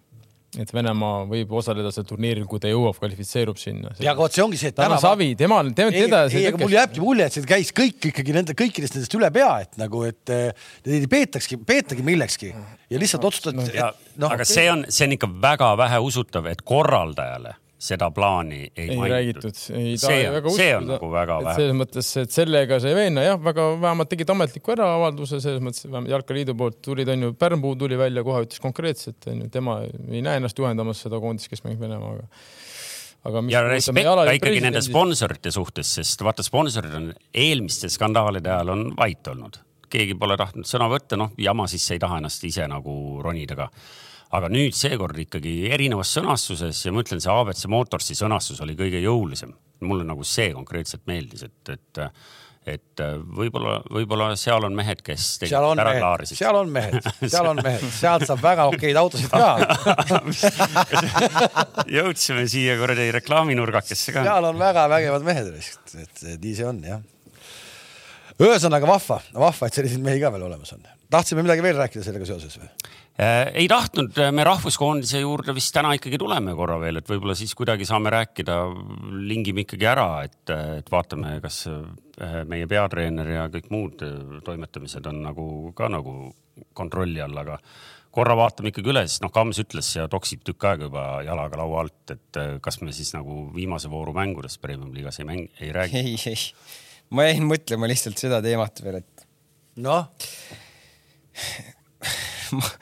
S3: et Venemaa võib osaleda sel turniiril , kui ta jõuab , kvalifitseerub sinna .
S1: ja aga vot see ongi see , et
S3: täna
S1: täna
S3: Savi , temal , temal
S1: ei ,
S3: teda
S1: ei , aga mul jääbki mulje , et see käis kõik ikkagi nende kõikidest nendest üle pea , et nagu , et eh, neid ei peetakski , peetagi millekski ja lihtsalt otsustati ,
S2: ja
S1: et
S2: no,
S1: noh
S2: aga okay. , see on , see on ikka väga vähe usutav , et korraldajale seda plaani ei,
S3: ei
S2: mainitud .
S3: räägitud , ei taha
S2: see on
S3: väga ,
S2: see on nagu väga
S3: et
S2: vähe .
S3: selles mõttes , et sellega sai veena jah , väga vähemalt tegid ametliku eraavalduse , selles mõttes vähemalt Jalkaliidu poolt tulid onju , Pärnpuu tuli välja kohe ütles konkreetselt onju , tema ei näe ennast juhendamas seda koondist , kes mängib Venemaaga . aga mis
S2: ja
S3: puudutab
S2: respekt
S3: meie
S2: ka
S3: alaja
S2: ikkagi nende
S3: presidenti,
S2: sponsorite suhtes , sest vaata , sponsorid on eelmiste skandaalide ajal on vait olnud , keegi pole tahtnud sõna võtta , noh jama sisse ei taha ennast ise nagu ronida ka . aga nüüd seekord ikkagi erinevas sõnastuses ja ma ütlen , see abc Motorsi sõnastus oli kõige jõulisem . mulle nagu see konkreetselt meeldis , et , et et võib-olla , võib-olla seal on mehed , kes
S1: seal on
S2: tegelikult ära
S1: mehed ,
S2: klaarisid .
S1: seal on mehed , seal on mehed , sealt saab väga okeid autosid ka ,
S2: jõudsime siia kuradi reklaaminurgakesse ka .
S1: seal on väga vägevad mehed , et, et nii see on jah . ühesõnaga vahva , vahva , et selliseid mehi ka veel olemas on . tahtsime midagi veel rääkida sellega seoses või ?
S2: Eh, ei tahtnud , me rahvuskoondise juurde vist täna ikkagi tuleme korra veel , et võib-olla siis kuidagi saame rääkida , lingime ikkagi ära , et , et vaatame , kas eh, meie peatreener ja kõik muud eh, toimetamised on nagu ka nagu kontrolli all , aga korra vaatame ikkagi üle , sest noh , Kams ütles ja toksib tükk aega juba jalaga laua alt , et eh, kas me siis nagu viimase vooru mängudest Premium-liigas ei mängi , ei räägi .
S4: ei , ei , ma jäin mõtlema lihtsalt seda teemat veel , et
S1: noh ,
S4: ma-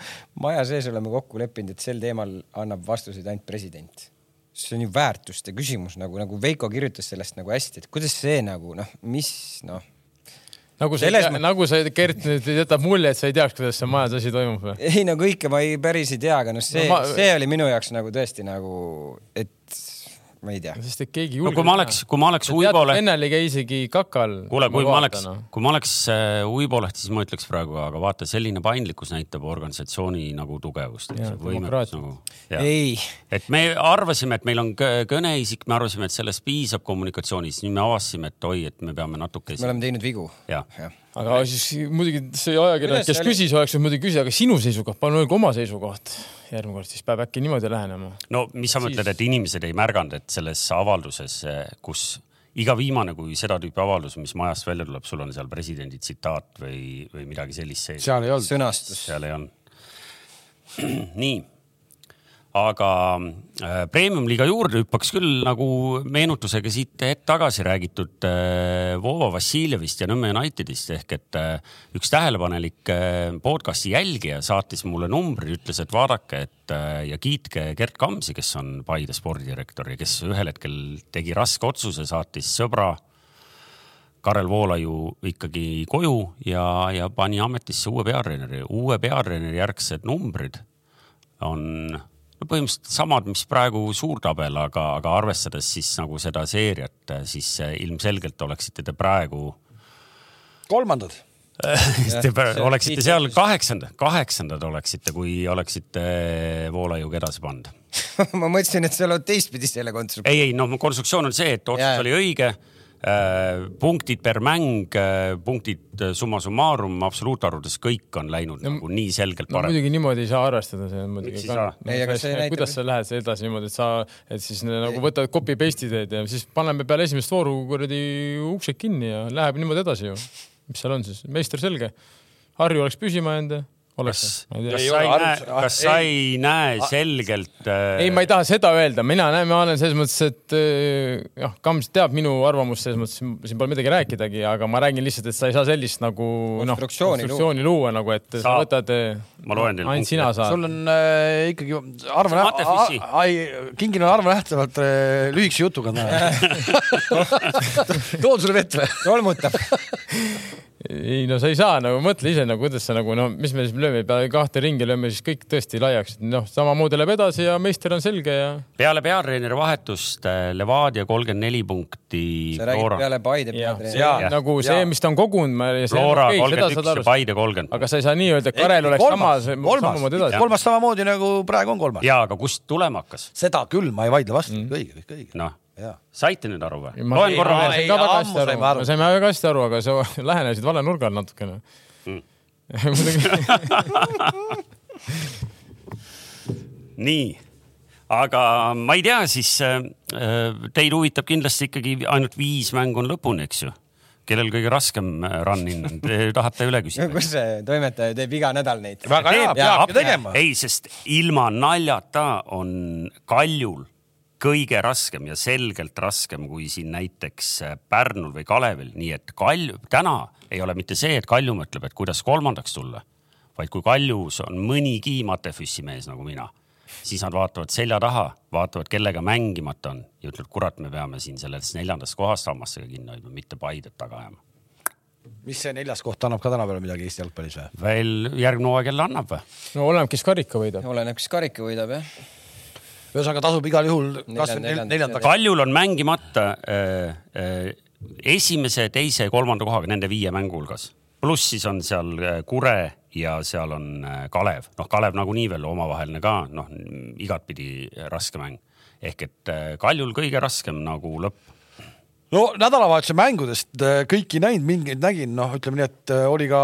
S4: maja sees oleme kokku leppinud , et sel teemal annab vastuseid ainult president . see on ju väärtuste küsimus nagu , nagu Veiko kirjutas sellest nagu hästi , et kuidas see nagu noh , mis noh ,
S3: nagu sa
S4: selles ,
S3: mõttes... nagu sa Gert nüüd jätab mulje , et sa ei teaks , kuidas see majas asi toimub või ?
S4: ei no kõike ma ei päris ei tea , aga noh , see
S3: No
S4: no, ,
S3: ma-
S4: see oli minu jaoks nagu tõesti nagu , et ma ei tea .
S3: sest et keegi ei
S2: no
S3: julge
S2: kui ma oleks , kui ma oleks Uibo oleks .
S3: Vennel ei käi isegi kakal . noh.
S2: kuule , kui ma oleks , kui ma oleks äh, Uibo Leht , siis ma ütleks praegu , aga vaata , selline paindlikkus näitab organisatsiooni nagu tugevust ,
S3: Jaa,
S2: võimekust
S3: demokraatiat.
S2: nagu .
S4: ei ,
S2: et me arvasime , et meil on kõ- kõneisik , me arvasime , et sellest piisab kommunikatsioonis , nüüd me avastasime , et oi , et me peame natuke
S4: me . oleme teinud vigu .
S2: jah ,
S3: aga siis muidugi see ajakirjanik ,
S4: Kuidas
S3: kes
S4: seal-
S3: küsis , oleks võinud muidugi küsida , aga sinu seisukoht , palun öelge oma seisukoht . järgmine kord siis peab äkki niimoodi lähenema .
S2: no mis sa mõtled , et inimesed ei märganud , et selles avalduses , kus iga viimane , kui seda tüüpi avaldus , mis majast välja tuleb , sul on seal presidendi tsitaat või , või midagi sellist sees .
S1: seal ei olnud .
S4: sõnastus .
S2: seal ei olnud . nii , aga äh, premium-liiga juurde hüppaks küll nagu meenutusega siit hetk tagasi räägitud äh, Vova Vassiljevist ja Nõmme Unitedist ehk et äh, üks tähelepanelik äh, podcast'i jälgija saatis mulle numbri , ütles , et vaadake , et äh, ja kiitke Gert Kamsi , kes on Paide spordidirektor ja kes ühel hetkel tegi raske otsuse , saatis sõbra Karel Voolaiu ikkagi koju ja , ja pani ametisse uue peatreeneri . uue peatreeneri järgsed numbrid on no põhimõtteliselt samad , mis praegu suurtabel , aga , aga arvestades siis nagu seda seeriat , siis eh, ilmselgelt oleksite te praegu eh,
S1: kolmandad
S2: Te pä- oleksite seal kaheksanda , kaheksandad oleksite , kui oleksite Voolaiuga edasi pannud .
S4: ma mõtlesin , et sa oled teistpidi selle konstruktsiooni .
S2: ei , ei no mu konstruktsioon on see , et otsus
S4: Jaa.
S2: oli õige . punktid per mäng , punktid summa summarum , absoluutarvudes kõik on läinud no, nagu nii selgelt
S3: no
S2: paremaks .
S3: muidugi niimoodi ei saa arvestada , see on muidugi
S2: Miks ei saa?
S4: Ei, aga see näitab-
S3: kuidas sa lähed edasi niimoodi , et sa , et siis nagu võtad copy paste'i teed ja siis paneme peale esimest vooru kuradi uksed kinni ja läheb niimoodi edasi ju . mis seal on siis , meister selge . Harju oleks püsima jäänud ja oleks .
S2: kas
S1: Ei
S2: sa
S1: ole
S2: ei näe
S1: arvus- ,
S2: kas sa ei näe selgelt ? äh,
S3: ei , ma ei taha seda öelda , mina näen , ma olen selles mõttes , et äh, jah , Kams teab minu arvamust , selles mõttes siin siin pole midagi rääkidagi , aga ma räägin lihtsalt , et sa ei saa sellist nagu noh ,
S4: Konstruktsiooni
S3: konstruktsiooni luua nagu , et sa
S2: Saab.
S3: võtad .
S2: Ma loen teile
S3: ainult sina saad .
S1: sul on äh, ikkagi arv
S2: See on Matefissi. ,
S1: ai , kingil on arv nähtavalt äh, lühikese jutuga täna . toon sulle vett või ?
S4: tolmutab .
S3: ei no sa ei saa nagu mõtle ise nagu , kuidas sa nagu no mis me siis lööme peale kahte ringi , lööme siis kõik tõesti laiaks , noh , samamoodi läheb edasi ja meister on selge ja
S2: peale peatreeneri vahetust äh, Levadia kolmkümmend neli punkti .
S4: sa räägid peale Paide
S3: Jah.
S4: peatreeneri .
S1: jaa ,
S3: nagu see , mis ta on kogunud , ma .
S2: Flora kolmkümmend üks ja Paide kolmkümmend .
S3: aga sa ei saa nii öelda , et Karel oleks sama , samamoodi edasi .
S1: kolmas samamoodi nagu praegu on kolmas .
S2: ja , aga kust tulema hakkas ?
S1: seda küll , ma ei vaidle vastu mm. , kõik õige , kõik õige .
S2: noh ,
S1: jaa .
S2: saite nüüd aru või ?
S3: ma
S2: loen
S3: ei-
S2: korra
S3: ma
S2: veel .
S3: sain
S1: ei,
S3: ka väga
S1: ammu
S3: hästi aru,
S1: saime aru.
S3: me saime väga hästi aru , aga sa lähenesid vale nurga all natukene mm. .
S2: nii , aga ma ei tea , siis äh, äh, teid huvitab kindlasti ikkagi ainult viis mängu on lõpuni , eks ju ? kellel kõige raskem äh, run in on , te tahate üle küsida ?
S4: kus see toimetaja teeb iga nädal neid ?
S1: väga hea , peabki tegema .
S2: ei , sest ilma naljata on Kaljul kõige raskem ja selgelt raskem kui siin näiteks äh, Pärnul või Kalevil , nii et Kalju , täna ei ole mitte see , et Kalju mõtleb , et kuidas kolmandaks tulla , vaid kui Kaljus on mõnigi Matefüssi mees nagu mina , siis nad vaatavad selja taha , vaatavad , kellega mängimata on ja ütlevad , kurat , me peame siin sellest neljandast kohast hammastega kinni hoidma , mitte Paidet taga ajama .
S1: mis see neljas koht annab ka tänapäeval midagi Eesti jalgpallis või ?
S2: veel järgmine hooaeg jälle annab või ?
S3: no oleneb , kes karika võidab .
S4: oleneb , kes karika võidab jah .
S1: ühesõnaga tasub igal juhul kasvõi nel-
S4: neljandaks.
S1: neljandaks .
S2: Kaljul on mängimata äh, äh, esimese , teise ja kolmanda kohaga nende viie mängu hulgas . pluss siis on seal äh, Kure ja seal on äh, Kalev , noh , Kalev nagunii veel omavaheline ka , noh , igatpidi äh, raske mäng . ehk et äh, Kaljul kõige raskem nagu lõpp .
S1: no nädalavahetuse mängudest äh, kõiki ei näinud , mingeid nägin , noh , ütleme nii , et äh, oli ka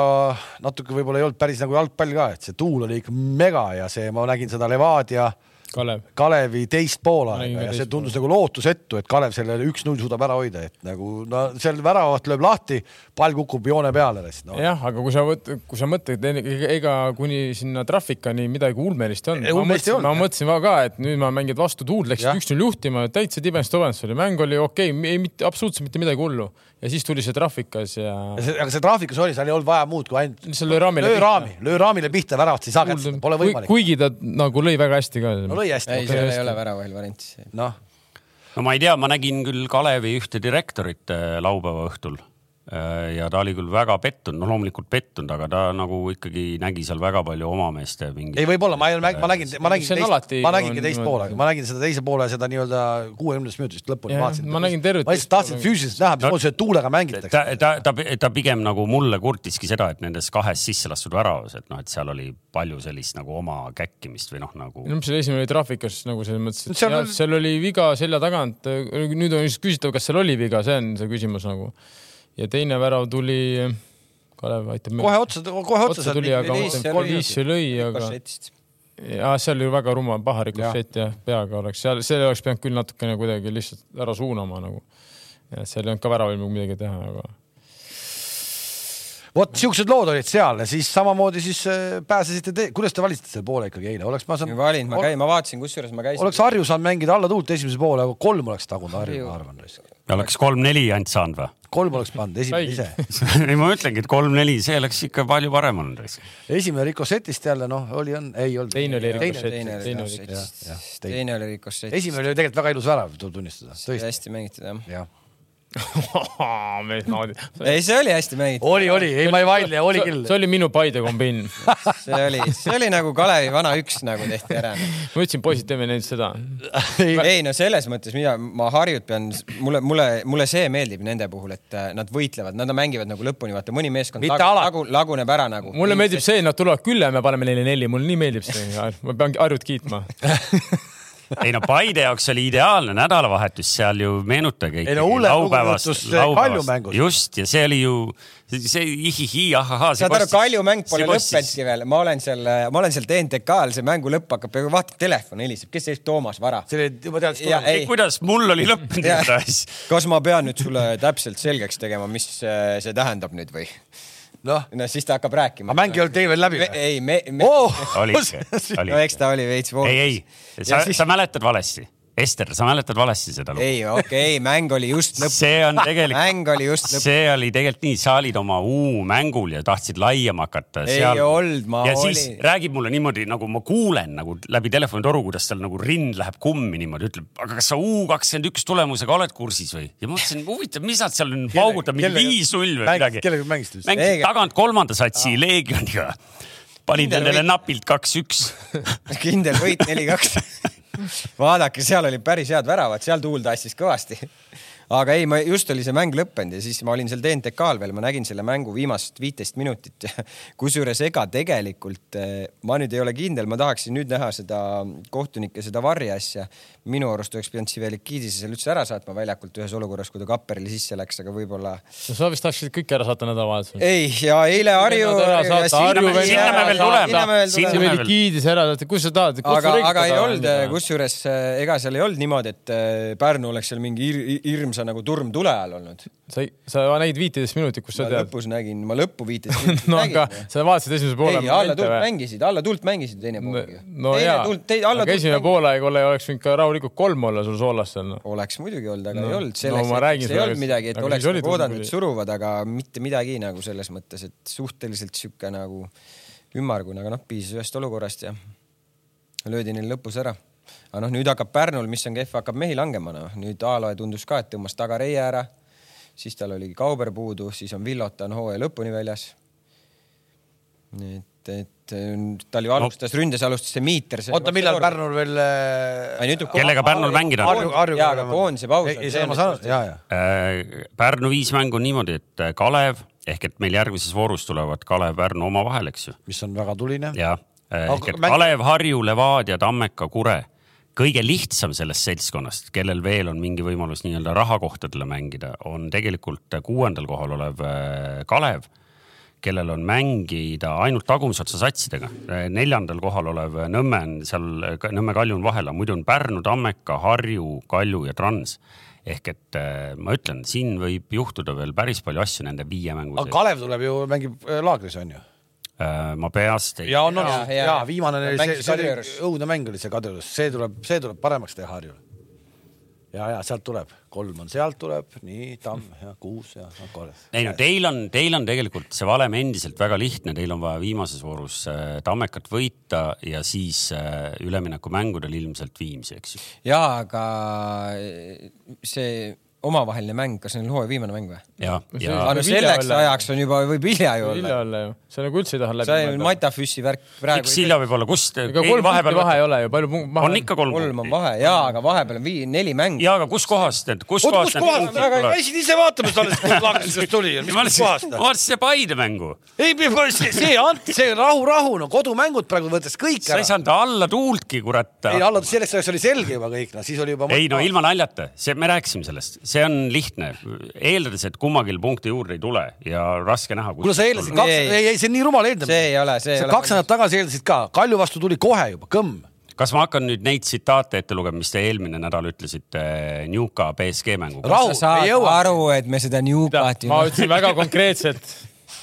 S1: natuke võib-olla ei olnud päris nagu jalgpall ka , et see tuul oli ikka mega ja see , ma nägin seda Levadia
S3: Kalev ,
S1: Kalevi teist
S3: Ma
S1: poolaega
S3: nägin ka
S1: ja see
S3: teist
S1: tundus nagu lootusetu , et Kalev selle üks-null suudab ära hoida , et nagu no seal väravat lööb lahti , pall kukub joone peale lihtsalt no. .
S3: jah , aga kui sa võt- , kui sa mõtled , ega kuni sinna trafficani midagi ulmelist on.
S1: Ei,
S3: ma
S1: ulmelist ei
S3: mõtlesin-
S1: olnud,
S3: ma
S1: jah.
S3: mõtlesin ka , et nüüd ma mängin vastu tuult ,
S1: Jah.
S3: läksid üks-null juhtima , täitsa tibens-tobens oli , mäng oli okei okay, , ei mitte absoluutselt mitte midagi hullu ja siis tuli see trafficas ja
S1: aga see graafikus oli , seal ei olnud vaja muud kui ainult
S3: See löö raamile
S1: löö
S3: pihta.
S1: raami , löö raamile pihta , väravat ei saa kätte , pole võimalik .
S3: kuigi ta nagu lõi väga hästi ka .
S1: no lõi hästi
S4: ei ,
S1: okei.
S4: seal ei ole väravahel varianti .
S1: noh ,
S2: no ma ei tea , ma nägin küll Kalevi ühte direktorit äh, laupäeva õhtul äh, ja ta oli küll väga pettunud , no loomulikult pettunud , aga ta nagu ikkagi nägi seal väga palju oma meeste mingeid
S1: ei võib-olla , ma ei , ma nägin , ma nägin
S3: See on
S1: teist
S3: alati ,
S1: ma nägingi
S3: on
S1: teist
S3: niimoodi.
S1: poolega , ma nägin seda teise poole seda nii-öelda kuuekümnendast minutist lõpuni
S3: Jah,
S1: vaatasin .
S3: ma nägin tervet-
S1: ma lihtsalt tahtsin füüsiliselt näha , mismoodi selle tuulega mängitakse .
S2: ta , ta , ta , ta pigem nagu mulle kurtiski seda , et nendes kahes sisse lastud väravas , et noh , et seal oli palju sellist nagu oma käkkimist või noh , nagu
S3: no mis selle esimene oli traffikas nagu selles mõttes ,
S1: Seal
S3: et seal,
S1: oli-
S3: oli... seal oli viga selja tagant . nüüd on just küsitav , kas seal oli viga , see on see küsimus nagu . ja teine värav tuli , Kalev aitab mind .
S1: kohe otsa , kohe otsa
S3: otsa tuli , aga
S4: Liis seal
S3: kolm
S4: lüüa.
S3: viis see lõi , aga
S4: kassetist .
S3: ja see oli ju väga rumal , paha rikošett jah , peaga oleks , seal , selle oleks pidanud küll natukene kuidagi lihtsalt ära suunama nagu . et seal ei olnud ka väravil nagu midagi teha , aga
S1: vot siuksed lood olid seal ja siis samamoodi siis äh, pääsesite te , kuidas te valisite selle poole ikkagi eile , oleks ma saanud ,
S4: valin , ma käin , ma vaatasin , kusjuures ma käisin .
S1: oleks Harju saanud mängida alla tuult esimese poole , aga kolm oleks tagunud Harju , ma arvan .
S2: Ja oleks kolm-neli ainult saanud või ?
S1: kolm oleks pannud esimene ise .
S2: ei , ma ütlengi , et kolm-neli , see oleks ikka palju parem olnud , eks .
S1: esimene Rikosetist jälle noh , oli , on , ei olnud .
S3: Teine oli rikošett.
S4: teine oli
S3: Teine oli
S4: kassetist
S1: jah, jah, , teine.
S4: teine oli kassett .
S1: esimene oli tegelikult väga ilus värav , tuleb tunnistada , tõesti ,
S4: hästi mängitud jah .
S1: jah .
S3: mees naudib .
S4: ei , see oli hästi mängitud ,
S1: oli , oli , ei ma ei vaidle , oli küll .
S3: see oli minu Paide kombin .
S1: Oh.
S4: see oli , see oli nagu Kalevi vana üks nagu tehti ära .
S3: ma ütlesin , poisid , teeme nüüd seda .
S4: ei no selles mõttes , mida ma Harjut pean , mulle , mulle , mulle see meeldib nende puhul , et äh, nad võitlevad , nad mängivad nagu lõpuni , vaata mõni meeskond
S1: Mitte
S4: lagu-
S1: alati.
S4: lagu- laguneb ära nagu .
S3: mulle meeldib see , et nad tulevad külla ja me paneme neile neli , mulle nii meeldib see , ma peangi Harjut kiitma .
S2: ei no Paide jaoks oli ideaalne nädalavahetus , seal ju meenutage
S1: Ei no hullem lugu juhtus, eh, Kalju mängus.
S2: just ja see oli ju see, see ihihi ahahaa .
S4: saad aru , Kalju mäng pole lõppenudki veel , ma olen seal , ma olen seal TNTK-l , see mängu lõpp hakkab , vaata telefon heliseb , kes see Toomas Vara .
S1: see oli , ma teadsin
S4: Ja- . Ei.
S2: kuidas mul oli lõppenud
S4: Jah.
S2: enda asi .
S4: kas ma pean nüüd sulle täpselt selgeks tegema , mis äh, see tähendab nüüd või ?
S1: noh ,
S4: no siis ta hakkab rääkima .
S1: aga mäng ei olnud teil veel läbi või ?
S4: ei , me, me... .
S1: Oh!
S2: oli ikka , oli
S4: no eks
S2: ikka .
S4: ta oli veits voolus .
S2: ei , ei , sa ,
S4: siis...
S2: sa mäletad valesti . Ester , sa mäletad valesti seda lugu .
S4: ei , okei okay, , mäng oli just lõpp ,
S2: see on tegelikult ,
S4: mäng oli just lõpp .
S2: see oli tegelikult nii , sa olid oma U-mängul ja tahtsid laiema hakata .
S4: Ei olnud, ma
S2: ja siis
S4: olin-
S2: räägib mulle niimoodi , nagu ma kuulen nagu läbi telefonitoru , kuidas tal nagu rind läheb kummi niimoodi , ütleb , aga kas sa U-kakskümmend üks tulemusega oled kursis või ? ja ma mõtlesin , huvitav , mis nad seal nüüd paugutavad , mingi
S1: kellega-
S2: viis-null või
S1: mäng-
S2: midagi .
S1: kellega mängisid siis ?
S2: mängisid
S4: Ei,
S2: tagant kolmanda satsi Leegioniga . panid
S4: Kindel
S2: nendele
S4: võit.
S2: napilt kaks-üks .
S4: kindel võit neli-kaks . vaadake , seal oli päris head väravad , seal tuul tassis kõvasti . aga ei , ma just oli see mäng lõppenud ja siis ma olin seal TNTK-l veel , ma nägin selle mängu viimast viiteist minutit . kusjuures ega tegelikult eh, ma nüüd ei ole kindel , ma tahaksin nüüd näha seda kohtunike seda varje asja . minu arust oleks pidanud Sivelikidise seal üldse ära saatma väljakult ühes olukorras , kui ta Kapperile sisse läks , aga võib-olla .
S3: no sa vist tahtsid kõik ära saata nädalavahetusel .
S4: ei , ja eile Harju .
S3: nad Mm. ära saata, Harju veel
S2: sinna me veel tuleme. Sinna
S3: see
S2: me
S3: oli
S2: veel-
S3: giidis ära saadetud , kus sa tahad ?
S4: aga , aga ei olnud , eh, kusjuures äh, ega seal ei olnud niimoodi , et äh, Pärnu oleks seal mingi ir, ir- hirmsa nagu turm tule all olnud .
S3: sa , sa nägid viiteist minutit , kus sa
S4: ma
S3: tead .
S4: lõpus nägin , ma lõppu viiteist
S3: no aga sa vaatasid esimese poole .
S4: ei , eh? alla tuult mängisid , alla tuult mängisid teine
S3: no,
S4: pool .
S3: no jaa , aga esimene poolaeg ole , oleks võinud ka rahulikult kolm olla sul soolas seal noh .
S4: oleks muidugi olnud , aga
S3: No,
S4: no, ei olnud ,
S3: no
S4: selleks
S3: ma
S4: no,
S3: räägin
S4: ei
S3: sulle,
S4: olnud midagi , et
S3: aga
S4: oleks
S3: siis oli
S4: nagu oodanud ,
S3: tundmine.
S4: et suruvad , aga mitte midagi nagu selles mõttes , et suhteliselt sihuke nagu ümmargune , aga noh , piisas ühest olukorrast ja löödi neil lõpus ära . aga noh , nüüd hakkab Pärnul , mis on kehv , hakkab mehi langema , noh nüüd Aaloe tundus ka , et tõmbas tagareie ära , siis tal oligi Kauber puudu , siis on Villota on hooaja lõpuni väljas . et , et tal ju alustas no. , ründes alustas see Miiter .
S1: oota , millal ? Pärnul veel ? äh,
S4: Ei, nüüd tuleb
S2: kellega Pärnul mängida on?
S1: Harju , Harju .
S4: Jaa, aga koondise paus on
S1: ei , seda ma saan , ja , ja .
S2: Pärnu viis mängu on niimoodi , et Kalev ehk et meil järgmises voorus tulevad Kalev-Pärnu omavahel , eks ju .
S1: mis on väga tuline .
S2: ja ehk
S1: Aga
S2: et
S1: mäng-
S2: Äh, Kalev , Harju , Levadia , Tammeka , Kure , kõige lihtsam sellest seltskonnast , kellel veel on mingi võimalus nii-öelda rahakohtadele mängida , on tegelikult kuuendal kohal olev eh, Kalev , kellel on mängida ainult tagumisotsa satsidega . neljandal kohal olev äh, Nõmme on seal , Nõmme Kalju on vahel , aga muidu on Pärnu , Tammeka , Harju , Kalju ja Trans ehk et eh, ma ütlen , siin võib juhtuda veel päris palju asju nende viie mängu
S1: aga
S2: sees .
S1: Kalev tuleb ju , mängib äh, laagris , on ju ?
S2: ma peast ei
S1: ja on , on ,
S4: Jaa, jaa.
S1: ja viimane
S4: Nad
S1: oli see ,
S4: mängisid
S1: see oli
S4: Kadriorus.
S1: õudne mäng oli see Kadriorus , see tuleb , see tuleb paremaks teha Harjul . ja , ja sealt tuleb , kolm on sealt tuleb , nii , tamm ja kuus ja no, kolm .
S2: ei no teil on , teil on tegelikult see valem endiselt väga lihtne , teil on vaja viimases voorus äh, Tammekat võita ja siis äh, üleminekumängudel ilmselt Viimsi , eks ju .
S4: ja aga e, see omavaheline mäng , kas neil hooaja viimane mäng või ?
S2: ja , ja
S4: aga no
S3: Võib hilja
S4: selleks
S3: olla.
S4: ajaks on juba , võib hilja ju
S3: hilja
S4: olla .
S3: olla ju , sa nagu üldse ei taha läbi
S4: see on . Matafüssi värk praegu
S2: üks . Silja võib olla , kust
S3: ega kolm punkti vahe ei ole ju , palju punk-
S2: on
S3: maha .
S2: ikka kolm,
S4: kolm on
S2: punkti .
S4: vahe ja , aga vahepeal on vii- , neli mängu .
S2: ja , aga kuskohast need ,
S1: oota , kus
S2: kuskohast
S1: kohast , aga
S2: tulevad?
S1: käisid ise vaatamas alles , kus laagris just tuli ,
S2: ma
S1: mis kohast ,
S2: vaatasin ma . vaatasin seda Paide mängu ,
S1: ei , see , see , see rahu , rahu , no kodumängud praegu võttes kõik
S2: sa ei
S1: ära .
S2: saanud alla tuultki , kurat .
S1: ei , alla , selleks ajaks oli selge juba kõik , no siis oli juba .
S2: ei no . ilma naljata , see , me rääkisime sellest , see on lihtne , eeldades , et kummagil punkti juurde ei tule ja raske näha .
S1: kuule , sa eeldasid
S4: Ei,
S1: kaks ,
S4: ei.
S1: ei , ei , see on nii rumal eeldamine .
S4: See ei ole, see ei ole
S1: kaks nädalat tagasi eeldasid ka , Kalju vastu tuli kohe juba , kõmm .
S2: kas ma hakkan nüüd neid tsitaate ette lugema , mis te eelmine nädal ütlesite äh, Newca BSG mängu kohta ?
S1: rahu ,
S4: sa saad
S1: ei jõua .
S4: aru , et me seda Newcat ju
S3: ma . ütlesin väga konkreetselt ,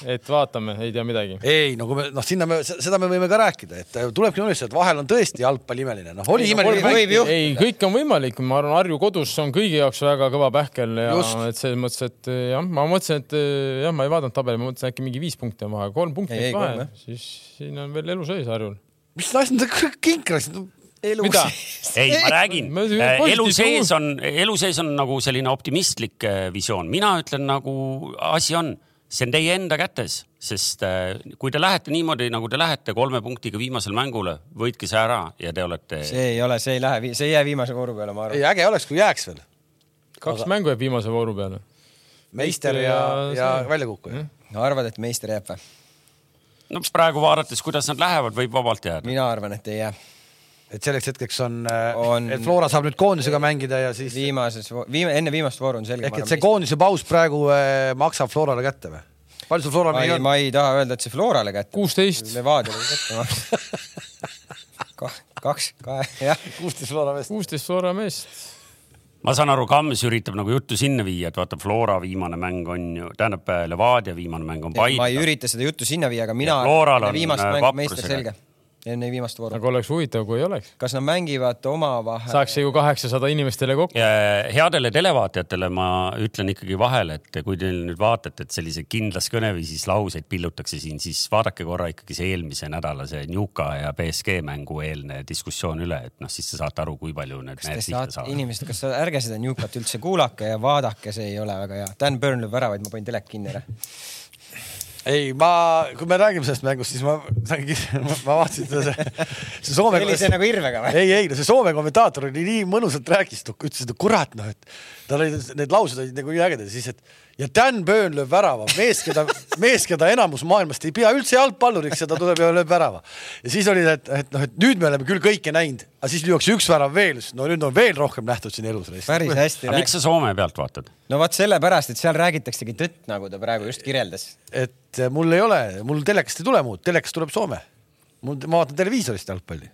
S3: et vaatame , ei tea midagi .
S1: ei , no kui me , noh , sinna me , seda me võime ka rääkida , et äh, tulebki unustada , et vahel on tõesti jalgpall imeline , noh , oli imeline
S4: võib-
S1: mäng
S4: võib . juhtuda.
S3: ei , kõik on võimalik , ma arvan , Harju kodus on kõigi jaoks väga kõva pähkel ja
S1: Just.
S3: et selles mõttes , et eh, jah , ma mõtlesin , et eh, jah , ma ei vaadanud tabeli , ma mõtlesin äkki mingi viis punkti on vahe , kolm punkti
S4: Ei, ei,
S3: on
S4: kolm,
S3: vahe
S4: jah. ,
S3: siis siin on veel elu sees Harjul .
S1: mis asjad sa kinkras ,
S3: mida ?
S2: ei , ma räägin Eh,
S3: Ma ütlen, , et
S2: elu
S3: positiivse
S2: sees on , elu sees on nagu selline optimistlik äh, visioon , mina ütlen nagu asi on , see on teie enda kätes , sest äh, kui te lähete niimoodi , nagu te lähete kolme punktiga viimasel mängule , võitke see ära ja te olete .
S4: see ei ole , see ei lähe , see ei jää viimase vooru peale , ma
S1: ei
S4: arvan .
S1: äge oleks , kui jääks veel
S3: kaks aga... mängu jääb viimase vooru peale .
S1: meister ja , ja väljakukkuja .
S4: Mm. arvad , et meister jääb või ?
S2: no praegu vaadates , kuidas nad lähevad , võib vabalt jääda .
S4: mina arvan , et ei jää .
S1: et selleks hetkeks on,
S4: On-
S1: on... , et Flora saab nüüd koondisega mängida ja siis
S4: viimases , viime , enne viimast vooru on selge .
S1: ehk et see koondise paus praegu äh, maksab Florale kätte või ? palju sul Floral
S4: ma
S1: neid
S4: ei ,
S1: on ?
S4: ma ei taha öelda , et see Florale kätte .
S3: kuusteist .
S4: Levadiale kätte ma... . kaks , kahe , jah .
S1: kuusteist Flora meest .
S3: kuusteist Flora meest .
S2: ma saan aru , Kams üritab nagu juttu sinna viia , et vaata , Flora viimane mäng on ju , tähendab äh, Levadia viimane mäng on
S4: ma ei
S2: Paide .
S4: ürita seda juttu sinna viia , aga mina .
S2: Floral on, äh, Nagu-
S4: meister
S2: vaprusega.
S4: selge , enne viimast vooru .
S3: aga Nagu oleks huvitav , kui ei oleks .
S4: kas nad mängivad omavahel ?
S3: saaks see ju kaheksasada inimestele kokku .
S2: headele televaatajatele ma ütlen ikkagi vahele , et kui te nüüd vaatate , et sellise kindlas kõneviisis lauseid pillutakse siin , siis vaadake korra ikkagi see eelmise nädala see Newca ja BSG mängu eelne diskussioon üle , et noh , siis te saate aru , kui palju need
S4: Te
S2: mehed pihta
S4: saate ,
S2: saavad .
S4: inimesed , kas sa- ärge seda Newcat üldse kuulake ja vaadake , see ei ole väga hea . Dan Burn lööb väravaid , ma panin telek kinni ära .
S1: ei , ma , kui me räägime sellest mängust , siis ma , ma vaatasin seda , see , see Soome
S4: sellise nagu irvega või ?
S1: ei , ei , no see Soome kommentaator oli nii mõnusalt rääkis , ütles , et kurat noh , et tal olid need laused olid nagu nii ägedad ja siis , et ja Dan Burn lööb värava , mees , keda , mees , keda enamus maailmast ei pea üldse jalgpalluriks ja ta tuleb ja lööb värava . ja siis oli , et , et noh , et nüüd me oleme küll kõike näinud , aga siis lüüakse üks värav veel , no nüüd on veel rohkem nähtud siin elus .
S4: päris hästi
S2: aga miks
S4: rääkis .
S2: sa Soome pealt vaatad ?
S4: no vot sellepärast , et seal räägitaksegi tõtt , nagu ta praegu just kirjeldas .
S1: et eh, mul ei ole , mul telekast ei tule muud , telekast tuleb Soome . mul , ma vaatan televiisorist jalgpalli .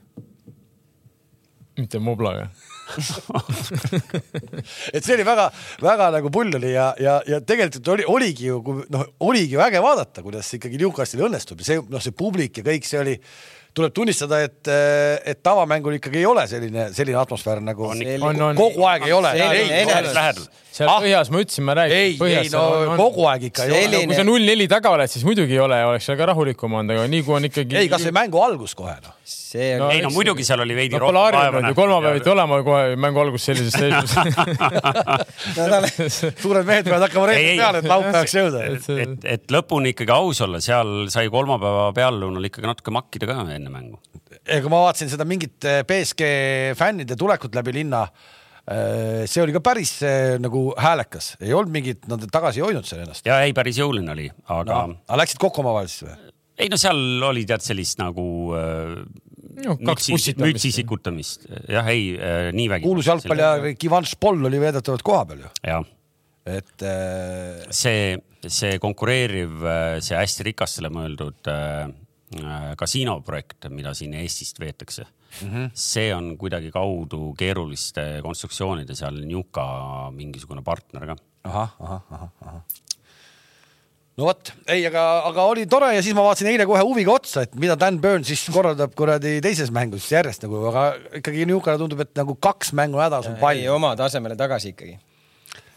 S3: mitte mublaga .
S1: et see oli väga-väga nagu pull oli ja , ja , ja tegelikult oli , oligi ju , noh , oligi ju äge vaadata , kuidas ikkagi Newcastil õnnestub ja see , noh , see publik ja kõik see oli , tuleb tunnistada , et , et tavamängul ikkagi ei ole selline , selline atmosfäär nagu
S2: On
S4: ikka.
S3: on , on .
S1: kogu aeg ei ole .
S4: See oli
S1: ei ,
S4: enesest-
S1: ei ,
S2: lähedal .
S3: seal
S1: Ah!
S3: ah. põhjas ma ütlesin , ma räägin .
S1: ei , ei no kogu aeg ikka ei ole .
S4: Selline-
S3: kui sa null neli taga oled , siis muidugi ei ole , oleks väga rahulikum olnud , aga nii kui on ikkagi .
S1: ei , kas või mängu algus kohe noh .
S4: see
S3: No
S4: oli
S2: ei no muidugi seal oli veidi
S3: no Polarium on ju kolmapäeviti . olema kohe mängu alguses sellises
S4: no, , no, no,
S3: seisus .
S1: suured mehed peavad hakkama
S2: Ei, ei.
S1: reedel peale , et laupäevaks jõuda .
S2: et , et lõpuni ikkagi aus olla , seal sai kolmapäeva peallõunal ikkagi natuke makkida ka enne mängu .
S1: ega ma vaatasin seda mingit eh, BSG fännide tulekut läbi linna . see oli ka päris eh, nagu häälekas , ei olnud mingit , nad tagasi ei hoidnud seal ennast .
S2: ja ei , päris jõuline oli , aga no.
S1: aga läksid kokku omavahel siis või ?
S2: ei no seal oli tead sellist nagu äh,
S3: No, kaks
S2: mütsi-
S3: pussitamist.
S2: mütsi sikutamist , jah , ei äh, nii vägi .
S1: kuulus . jalgpalliaeg Ivan Špoll oli veedetavalt koha peal ju ,
S2: jah ,
S1: et eh,
S2: see , see konkureeriv , see hästi rikastele mõeldud äh, äh, kasiinoprojekt , mida siin Eestist veetakse mm ,
S3: Mhm.
S2: -hmm. see on kuidagi kaudu keeruliste konstruktsioonide seal Newca mingisugune partner ka
S1: ahah , ahah , ahah , ahah . no vot , ei , aga , aga oli tore ja siis ma vaatasin eile kohe huviga otsa , et mida Dan Burn siis korraldab kuradi teises mängus järjest nagu , aga ikkagi niisugune tundub , et nagu kaks mängu nädalas on
S4: ei
S1: palju ,
S4: oma tasemele tagasi ikkagi .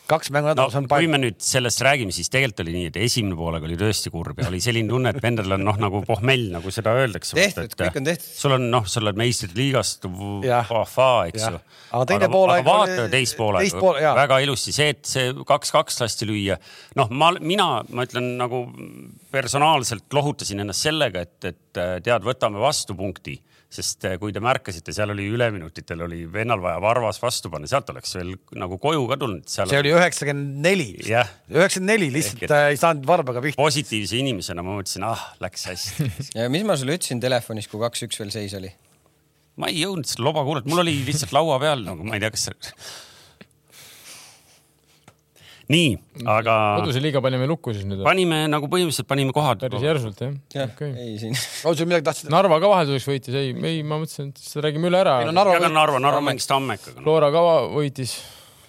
S1: kaks mängu
S2: no
S1: nädalas on
S2: kui
S1: palju .
S2: me nüüd sellest räägime , siis tegelikult oli nii , et esimene poolega oli tõesti kurb ja oli selline tunne , et vendel on noh , nagu pohmell , nagu seda öeldakse .
S4: Tehtud, kõik on tehtud.
S2: sul on noh , sa oled meistrite liigast ,
S1: Jah.
S2: vahvaa , eks ju
S1: Jah. . Aga teine poolaeg
S2: aga vaata
S1: oli-
S2: teist
S1: teist pool-
S2: poolega
S1: jaa. ,
S2: väga ilusti see , et see kaks-kaks lasti lüüa . noh , ma , mina , ma ütlen nagu personaalselt lohutasin ennast sellega , et , et äh, tead , võtame vastu punkti sest eh, kui te märkasite , seal oli üleminutitel oli vennal vaja varvas vastu panna , sealt oleks veel nagu koju ka tulnud .
S1: see oli üheksakümmend neli ,
S2: Jah.
S1: üheksakümmend neli
S2: Ehk
S1: lihtsalt
S2: et-
S1: äh, ei saanud varbaga pihta .
S2: positiivse inimesena ma mõtlesin , ah , läks hästi .
S4: ja mis ma sulle ütlesin telefonis , kui kaks-üks veel seis oli ?
S2: ma ei jõudnud seda loba kuulata , mul oli lihtsalt laua peal nagu ma ei tea , kas see . nii , aga
S3: koduse liiga panime lukku siis nüüd .
S2: panime nagu põhimõtteliselt panime kohad .
S3: päris järsult jah
S4: jah
S3: Okei.
S4: okay. , ei siin .
S1: on sul midagi tahtsid ?
S3: Narva ka vahelduseks võitis , ei , ei , ma mõtlesin , et seda räägime üle ära
S1: ei no . Narva
S2: aga , Narva , Narva mängis Tammekaga no. .
S3: Flora kava võitis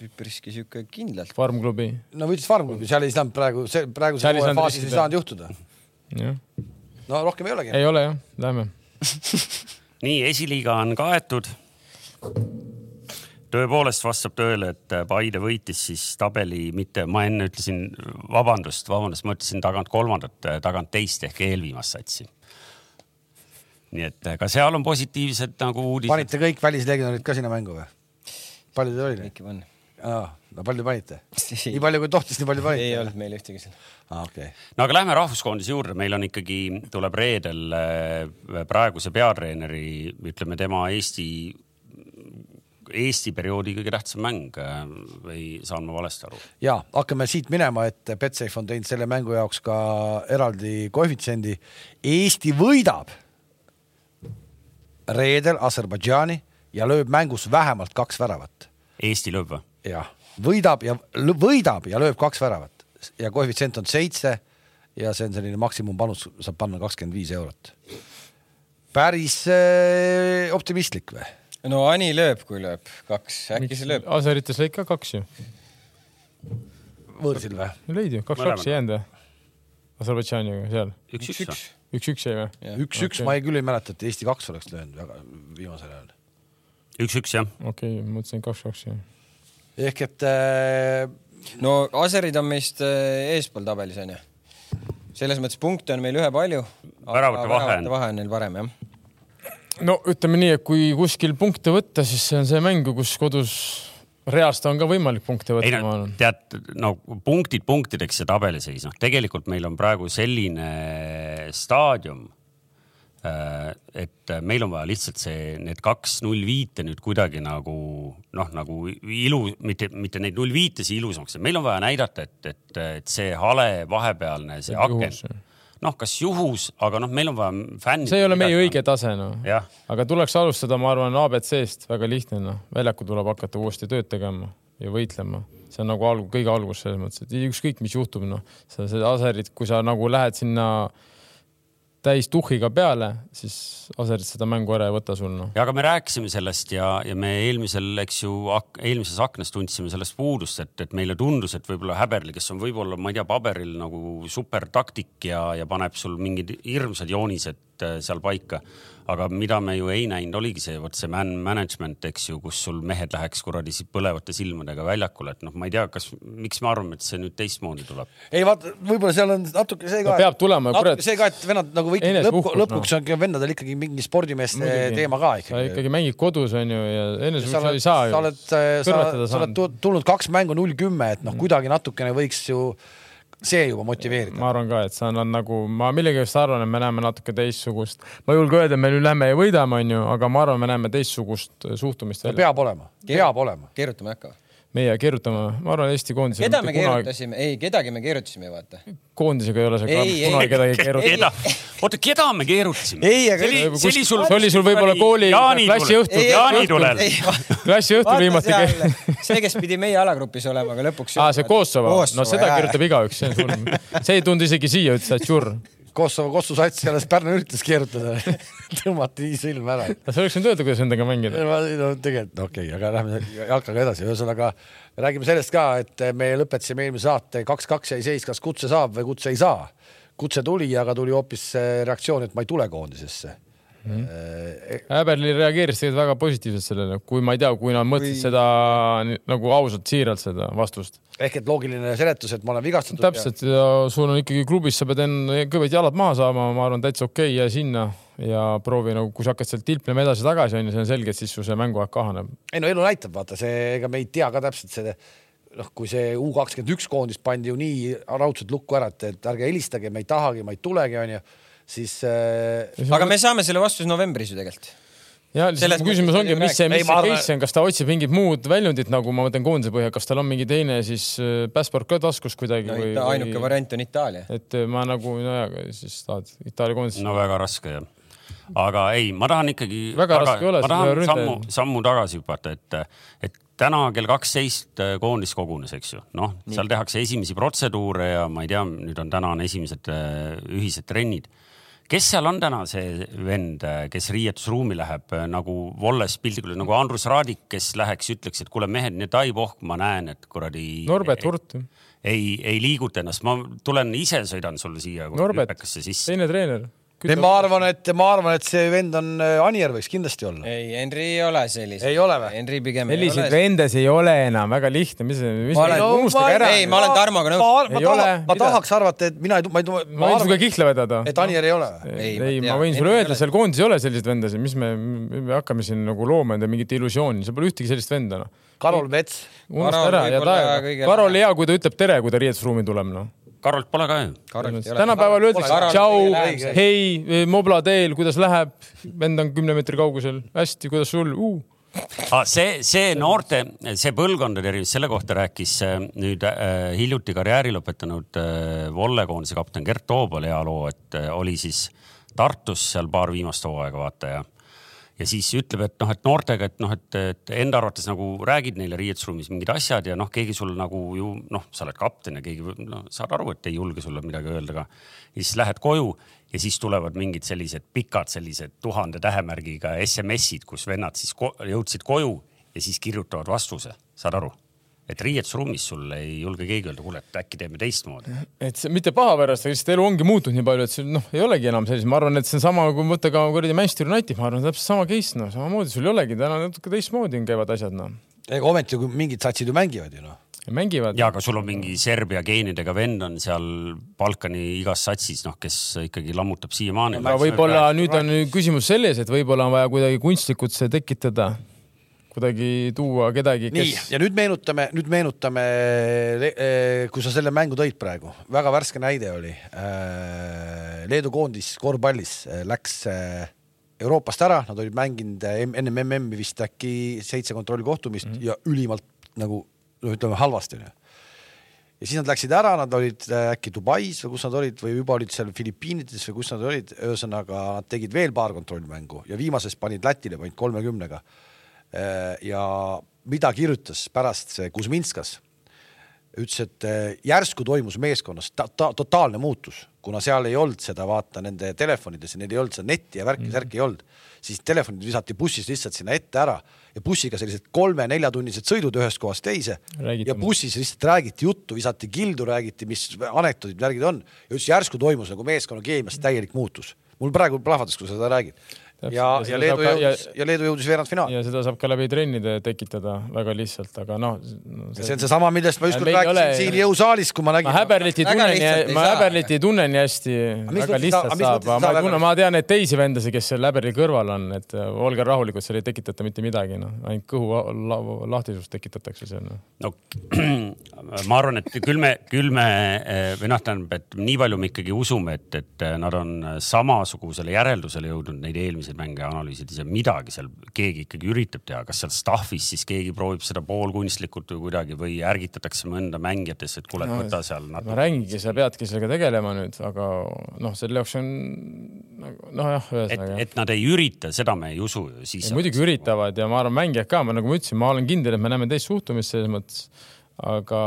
S4: üpriski sihuke kindlalt .
S3: Farm klubi .
S1: no võitis Farm klubi , seal ei saanud praegu , see praeguses
S3: Seal ei
S1: hooaja
S3: saanud
S1: faasis ei
S3: riskida.
S1: saanud juhtuda .
S3: jah ,
S1: no rohkem ei olegi .
S3: ei ole jah , lähme .
S2: nii , esiliiga on kaetud . tõepoolest vastab tõele , et Paide võitis siis tabeli , mitte ma enne ütlesin , vabandust , vabandust , ma ütlesin tagant kolmandat , tagant teist ehk eelviimast satsi . nii et ka seal on positiivsed nagu uudised .
S1: panite kõik välislegionärid ka sinna mängu või ? palju teil oli ?
S4: äkki on ?
S1: no palju te panite ?
S4: Ei.
S1: nii palju kui tohtis , nii palju
S4: ei
S1: panite ?
S4: olnud meil ühtegi seal .
S1: aa , okei .
S2: no aga lähme rahvuskoondise juurde , meil on ikkagi , tuleb reedel äh, praeguse peatreeneri , ütleme tema Eesti , Eesti perioodi kõige tähtsam mäng äh, või saan ma valesti aru ?
S1: ja hakkame siit minema , et Betsafe on teinud selle mängu jaoks ka eraldi koefitsiendi . Eesti võidab reedel Aserbaidžaani ja lööb mängus vähemalt kaks väravat .
S2: Eesti lööb või ?
S1: jah , võidab ja lõ- võidab ja lööb kaks väravat ja koefitsient on seitse ja see on selline maksimumpanus , saab panna kakskümmend viis eurot . päris äh, optimistlik või ?
S4: no Ani lööb , kui lööb kaks , äkki see
S3: Ah,
S4: lööb .
S3: Aserites lõid ka kaks ju ,
S1: võõrsil või ?
S3: lõid ju ,
S2: Mõlemad.
S3: kaks-kaks ei jäänud või ? Aserbaidžaaniga seal ,
S2: üks-üks või ?
S3: üks-üks jäi või ?
S1: üks-üks , ma ei, küll ei mäleta , et Eesti kaks oleks löönud väga viimasel ajal .
S2: üks-üks jah .
S3: okei okay, , ma mõtlesin kaks-kaks jah .
S1: ehk et äh,
S4: no Aserid on meist äh, eespool tabelis onju . selles mõttes punkte on meil ühe palju .
S2: Väravate vahe on-
S4: vahe on neil parem jah .
S3: no ütleme nii , et kui kuskil punkte võtta , siis see on see mäng , kus kodus reast on ka võimalik punkte
S2: ei
S3: võtta , ma
S2: no
S3: arvan .
S2: tead , no punktid punktideks ja tabeliseis , noh , tegelikult meil on praegu selline staadium , et meil on vaja lihtsalt see , need kaks null viite nüüd kuidagi nagu noh , nagu ilu , mitte , mitte neid null viitesi ilusamaks , meil on vaja näidata , et , et , et see hale vahepealne , see
S3: Juhus.
S2: aken , noh , kas juhus , aga noh , meil on vaja fänn .
S3: see ei ole meie õige tase noh .
S2: jah ,
S3: aga tuleks alustada , ma arvan , abc-st , väga lihtne noh , väljaku tuleb hakata uuesti tööd tegema ja võitlema , see on nagu alg- , kõige algus selles mõttes , et ükskõik , mis juhtub , noh , sa seda aserit , kui sa nagu lähed sinna täis tuhhiga peale , siis aserit seda mängu ära ei võta sul noh .
S2: ja aga me rääkisime sellest ja , ja me eelmisel , eks ju , eelmises aknas tundsime sellest puudust , et , et meile tundus , et võib-olla Häberli , kes on võib-olla , ma ei tea , paberil nagu supertaktik ja , ja paneb sul mingid hirmsad joonised äh, seal paika . aga mida me ju ei näinud , oligi see , vot see man management , eks ju , kus sul mehed läheks kuradi si- põlevate silmadega väljakule , et noh , ma ei tea , kas , miks me arvame , et see nüüd teistmoodi tuleb .
S1: ei vaata , võib-olla seal on natuke see ka .
S3: No peab tulema, kurat.
S1: see ka , et vennad nagu kõik
S3: Enes
S1: lõppu,
S3: uhkus,
S1: lõpuks no. on vendadel ikkagi mingi spordimeeste
S3: Muidugi.
S1: teema ka
S3: sa
S1: ikkagi .
S3: ikkagi mängid kodus onju ja
S1: sa
S3: enesejuhtus
S1: oled ,
S3: ei saa ju .
S1: sa oled , sa
S3: kõrvetada
S1: oled
S3: saanud , Mm.
S1: tu- tulnud kaks mängu null kümme , et noh , kuidagi natukene võiks ju see juba motiveerida .
S3: ma arvan ka , et see on nagu , ma millegipärast arvan , et me näeme natuke teistsugust , ma ei julge öelda , me nüüd lähme ja võidame onju , aga ma arvan , me näeme teistsugust äh, suhtumist välja .
S1: peab olema , peab olema .
S4: keerutame hakkame .
S3: meie keerutame , ma arvan , Eesti koondise .
S4: keda me keerutasime , ei , kedagi me keerutasime , vaata .
S3: koondisega ei ole see ka
S4: Ei, ei.
S3: kunagi kedagi keerutanud .
S2: keda , oota , keda me keerutasime ?
S4: ei , aga
S2: see oli , see oli sul ,
S3: see oli sul võib-olla kooli klassiõhtul.
S4: Ei, ei,
S2: jaanitulel .
S4: ei, va-
S3: klassiõhtul
S4: vaata
S3: viimati
S4: seal
S3: ke- ,
S4: see , kes pidi meie alagrupis olema , aga lõpuks .
S3: aa , Ah, see Kosovo , no seda
S4: jaa.
S3: kirjutab igaüks , see on surm . see ei tulnud isegi siia , ütles , et jur .
S1: Kosovo Kossu sats alles Pärnu üritas keerutada , tõmmati nii silm ära .
S3: sa võiksid nüüd öelda , kuidas nendega mängida .
S1: no tegelikult no, okei okay, , aga lähme jalkaga edasi , ühesõnaga räägime sellest ka , et me lõpetasime eelmise saate kaks-kaks jäi seis , kas kutse saab või kutse ei saa . kutse tuli , aga tuli hoopis eh, reaktsioon , et ma ei tule koondisesse mm. .
S3: Häberli reageeris tegelikult väga positiivselt sellele , kui ma ei tea , kui nad mõtlesid seda nii- nagu ausalt , siiralt seda vastust .
S1: ehk et loogiline seletus , et ma olen vigastatud .
S3: täpselt ja sul on ikkagi klubis , sa pead enne kõved jalad maha saama , ma arvan , täitsa okei okay, , jää sinna ja proovi nagu , kui sa hakkad sealt tilplema edasi-tagasi onju , see on selge , et siis su see mänguaeg kahaneb .
S1: ei no elu näitab , vaata see , ega me ei tea ka täpselt seda , noh , kui see U kakskümmend üks koondis pandi ju nii raudselt lukku ära , et , et ärge helistage , me ei tahagi , ma ei tulegi , onju , siis äh,
S4: aga me saame selle vastuse novembris ju tegelikult .
S3: ja lihtsalt
S4: Selles
S3: mu küsimus
S4: mõttes
S3: ongi , mis see ,
S1: Ei,
S3: mis
S1: ma
S3: see
S1: arvan-
S3: case on , kas ta otsib mingit muud väljundit , nagu ma mõtlen koondise põhjal , kas tal on mingi teine siis äh, passport ka taskus kuidagi või ?
S4: ainuke . variant on Itaalia .
S3: et äh, ma nagu , nojah , siis tahad Itaalia koondis no. .
S2: no väga raske jah . aga ei , ma tahan ikkagi .
S3: Väga raske ei ole,
S2: ma
S3: see ei
S2: tahan
S3: ole
S2: sammu
S3: ründaja. ,
S2: sammu tagasi hüpata , et , et täna kell kaksteist äh, koondis kogunes , eks ju , noh , seal tehakse esimesi protseduure ja ma ei tea , nüüd on täna on esimesed äh, ühised trennid . kes seal on täna see vend , kes riietusruumi läheb äh, nagu Volles piltlikult öeldes, nagu Andrus Raadik , kes läheks , ütleks , et kuule mehed , need aivohk , ma näen , et kuradi .
S3: Norbert Hurt ,
S2: ei , ei liiguta ennast , ma tulen ise sõidan sulle siia
S3: Norbert ,
S2: lüpekasse sisse .
S3: teine treener .
S1: ei, ma arvan , et ma arvan , et see vend on , Anier võiks kindlasti olla .
S4: ei , Henri ei ole sellise .
S1: Ei ole või?
S4: Henri pigem ei
S3: selliseid
S4: ole .
S3: vendes ei ole enam , väga lihtne , mis , mis
S4: Ma olen- No,
S3: unustage ära .
S4: ei, ma olen Tarmoga nõus.
S1: ma,
S3: Ei
S1: taha,
S3: ole,
S1: ma
S3: mida?
S1: tahaks arvata , et mina ei , ma ei , ma,
S3: ma võin
S1: arvan
S3: sinuga , kihla vedada .
S1: et Anier ei ole .
S3: ei,
S4: Ei, ma
S3: ei , ma
S4: tean.
S3: võin sulle
S4: Ei, ei
S3: öelda ,
S4: ole.
S3: seal koondis ei ole selliseid vendasid , mis me, me hakkame siin nagu looma enda mingit illusiooni , seal pole ühtegi sellist venda noh .
S1: Karol Mets ,
S3: unusta
S4: Karol
S3: ära ja
S4: võib-olla
S3: taeva
S4: kõige .
S3: Karol hea , kui ta ütleb tere , kui ta riietusruumi tuleb noh .
S2: Karolt pole ka ju .
S3: tänapäeval öeldakse
S4: Karol kõige lähem
S3: tšau
S4: seal. ,
S3: hei , mobla teel , kuidas läheb , vend on kümne meetri kaugusel , hästi , kuidas sul uh. ?
S2: Ah, see , see noorte , see põlvkondade erinevus , selle kohta rääkis äh, nüüd äh, hiljuti karjääri lõpetanud äh, vollekoondise kapten Gert Toobal hea loo , et äh, oli siis Tartus seal paar viimast hooaega vaata ja , ja siis ütleb , et noh , et noortega , et noh , et , et enda arvates nagu räägid neile riietusruumis mingid asjad ja noh , keegi sul nagu ju noh , sa oled kapten ja keegi võib- noh , saad aru , et ei julge sulle midagi öelda ka . ja siis lähed koju ja siis tulevad mingid sellised pikad , sellised tuhande tähemärgiga SMS-id , kus vennad siis ko jõudsid koju ja siis kirjutavad vastuse , saad aru ? et riietusruumis sul ei julge keegi öelda , kuule , et äkki teeme teistmoodi .
S3: et see mitte paha pärast , aga lihtsalt elu ongi muutunud nii palju , et see noh , ei olegi enam sellise , ma arvan , et see on sama , kui võtta ka kuradi Manchester United , ma arvan , täpselt sama case , noh , samamoodi sul ei olegi , täna natuke teistmoodi on- käivad asjad , noh .
S1: ega ometi ju mingid satsid ju mängivad ju noh .
S3: mängivad .
S2: ja aga sul on mingi Serbia geenidega vend on seal Balkani igas satsis , noh , kes ikkagi lammutab siiamaani .
S3: aga võib-olla nüüd on küsimus selles , et võib-olla on vaja kuidagi kunstlikult see tekitada , kuidagi tuua kedagi ,
S1: nii
S3: kes ,
S1: ja nüüd meenutame , nüüd meenutame , kui sa selle mängu tõid praegu , väga värske näide oli . Leedu koondis korvpallis eh, läks eh, Euroopast ära , nad olid mänginud eh, M- enne MM-i vist äkki seitse kontrollkohtumist mm -hmm. ja ülimalt nagu noh , ütleme halvasti onju ja siis nad läksid ära , nad olid äh, äkki Dubais või kus nad olid või juba olid seal Filipiinides või kus nad olid , ühesõnaga nad tegid veel paar kontrollmängu ja viimases panid Lätile point kolmekümnega . ja mida kirjutas pärast see Kuzminskas ütles , et äh, järsku toimus meeskonnas ta ta totaalne muutus , kuna seal ei olnud seda , vaata nende telefonides , neil ei olnud seda netti ja
S3: Mhm.
S1: värki , särki ei olnud , siis telefonid visati bussis lihtsalt sinna ette ära ja bussiga sellised kolme-neljatunnised sõidud ühest kohast teise
S3: Räägiti
S1: ja bussis lihtsalt räägiti juttu , visati kildu , räägiti , mis anekdoodid , värgid on ja ütles , järsku toimus nagu meeskonna keemias täielik muutus . mul praegu plahvatas , kui sa seda räägid .
S3: Täpselt,
S1: ja
S3: ja , seda
S1: ja Leedu
S3: saab ka- ja-
S1: jõudis ja Leedu jõudis veerandfinaali
S3: ja seda saab ka läbi trennide tekitada väga lihtsalt , aga noh .
S1: ja see on seesama , millest ma ükskord
S3: Meil ei
S1: rääkisin
S3: ole-
S1: siin jõusaalis , kui ma
S3: ma
S1: nägin .
S3: häberlit ei
S4: Väga
S3: tunne
S4: lihtsalt ei
S3: nii , ma
S4: saa.
S3: häberlit ei tunne nii hästi ,
S1: mis
S3: väga
S1: mõttes sa-
S3: lihtsalt
S1: aga mis
S3: saab ,
S1: mõttes sa
S3: ma ei
S1: häberlit-
S3: tunne , ma tean neid teisi vendasid , kes seal häberli kõrval on , et äh, olge rahulikud , seal ei tekitata mitte midagi , noh , ainult kõhu la- la- lahtisust tekitatakse seal , noh .
S2: no ma arvan , et küll me , küll me või noh , tähendab , et nii palju me ikkagi usume , et , et eh, nad on samasugusele järeldusele jõudnud neid eelmiseid mänge analüüsides ja midagi seal keegi ikkagi üritab teha , kas seal staff'is siis keegi proovib seda poolkunstlikult või kuidagi või ärgitatakse mõnda mängijatesse , et kuule , võta seal
S3: ma
S2: natuke .
S3: räägingi , sa peadki sellega tegelema nüüd , aga noh , selle jaoks on nagu- nojah ,
S2: et ,
S3: ühesõnaga .
S2: et nad ei ürita , seda me ei usu ju siis
S3: ei, . muidugi üritavad ja ma arvan , mängijad ka , ma nagu ma ütlesin , ma olen kindel , et me näeme teist suhtumist selles mõttes , aga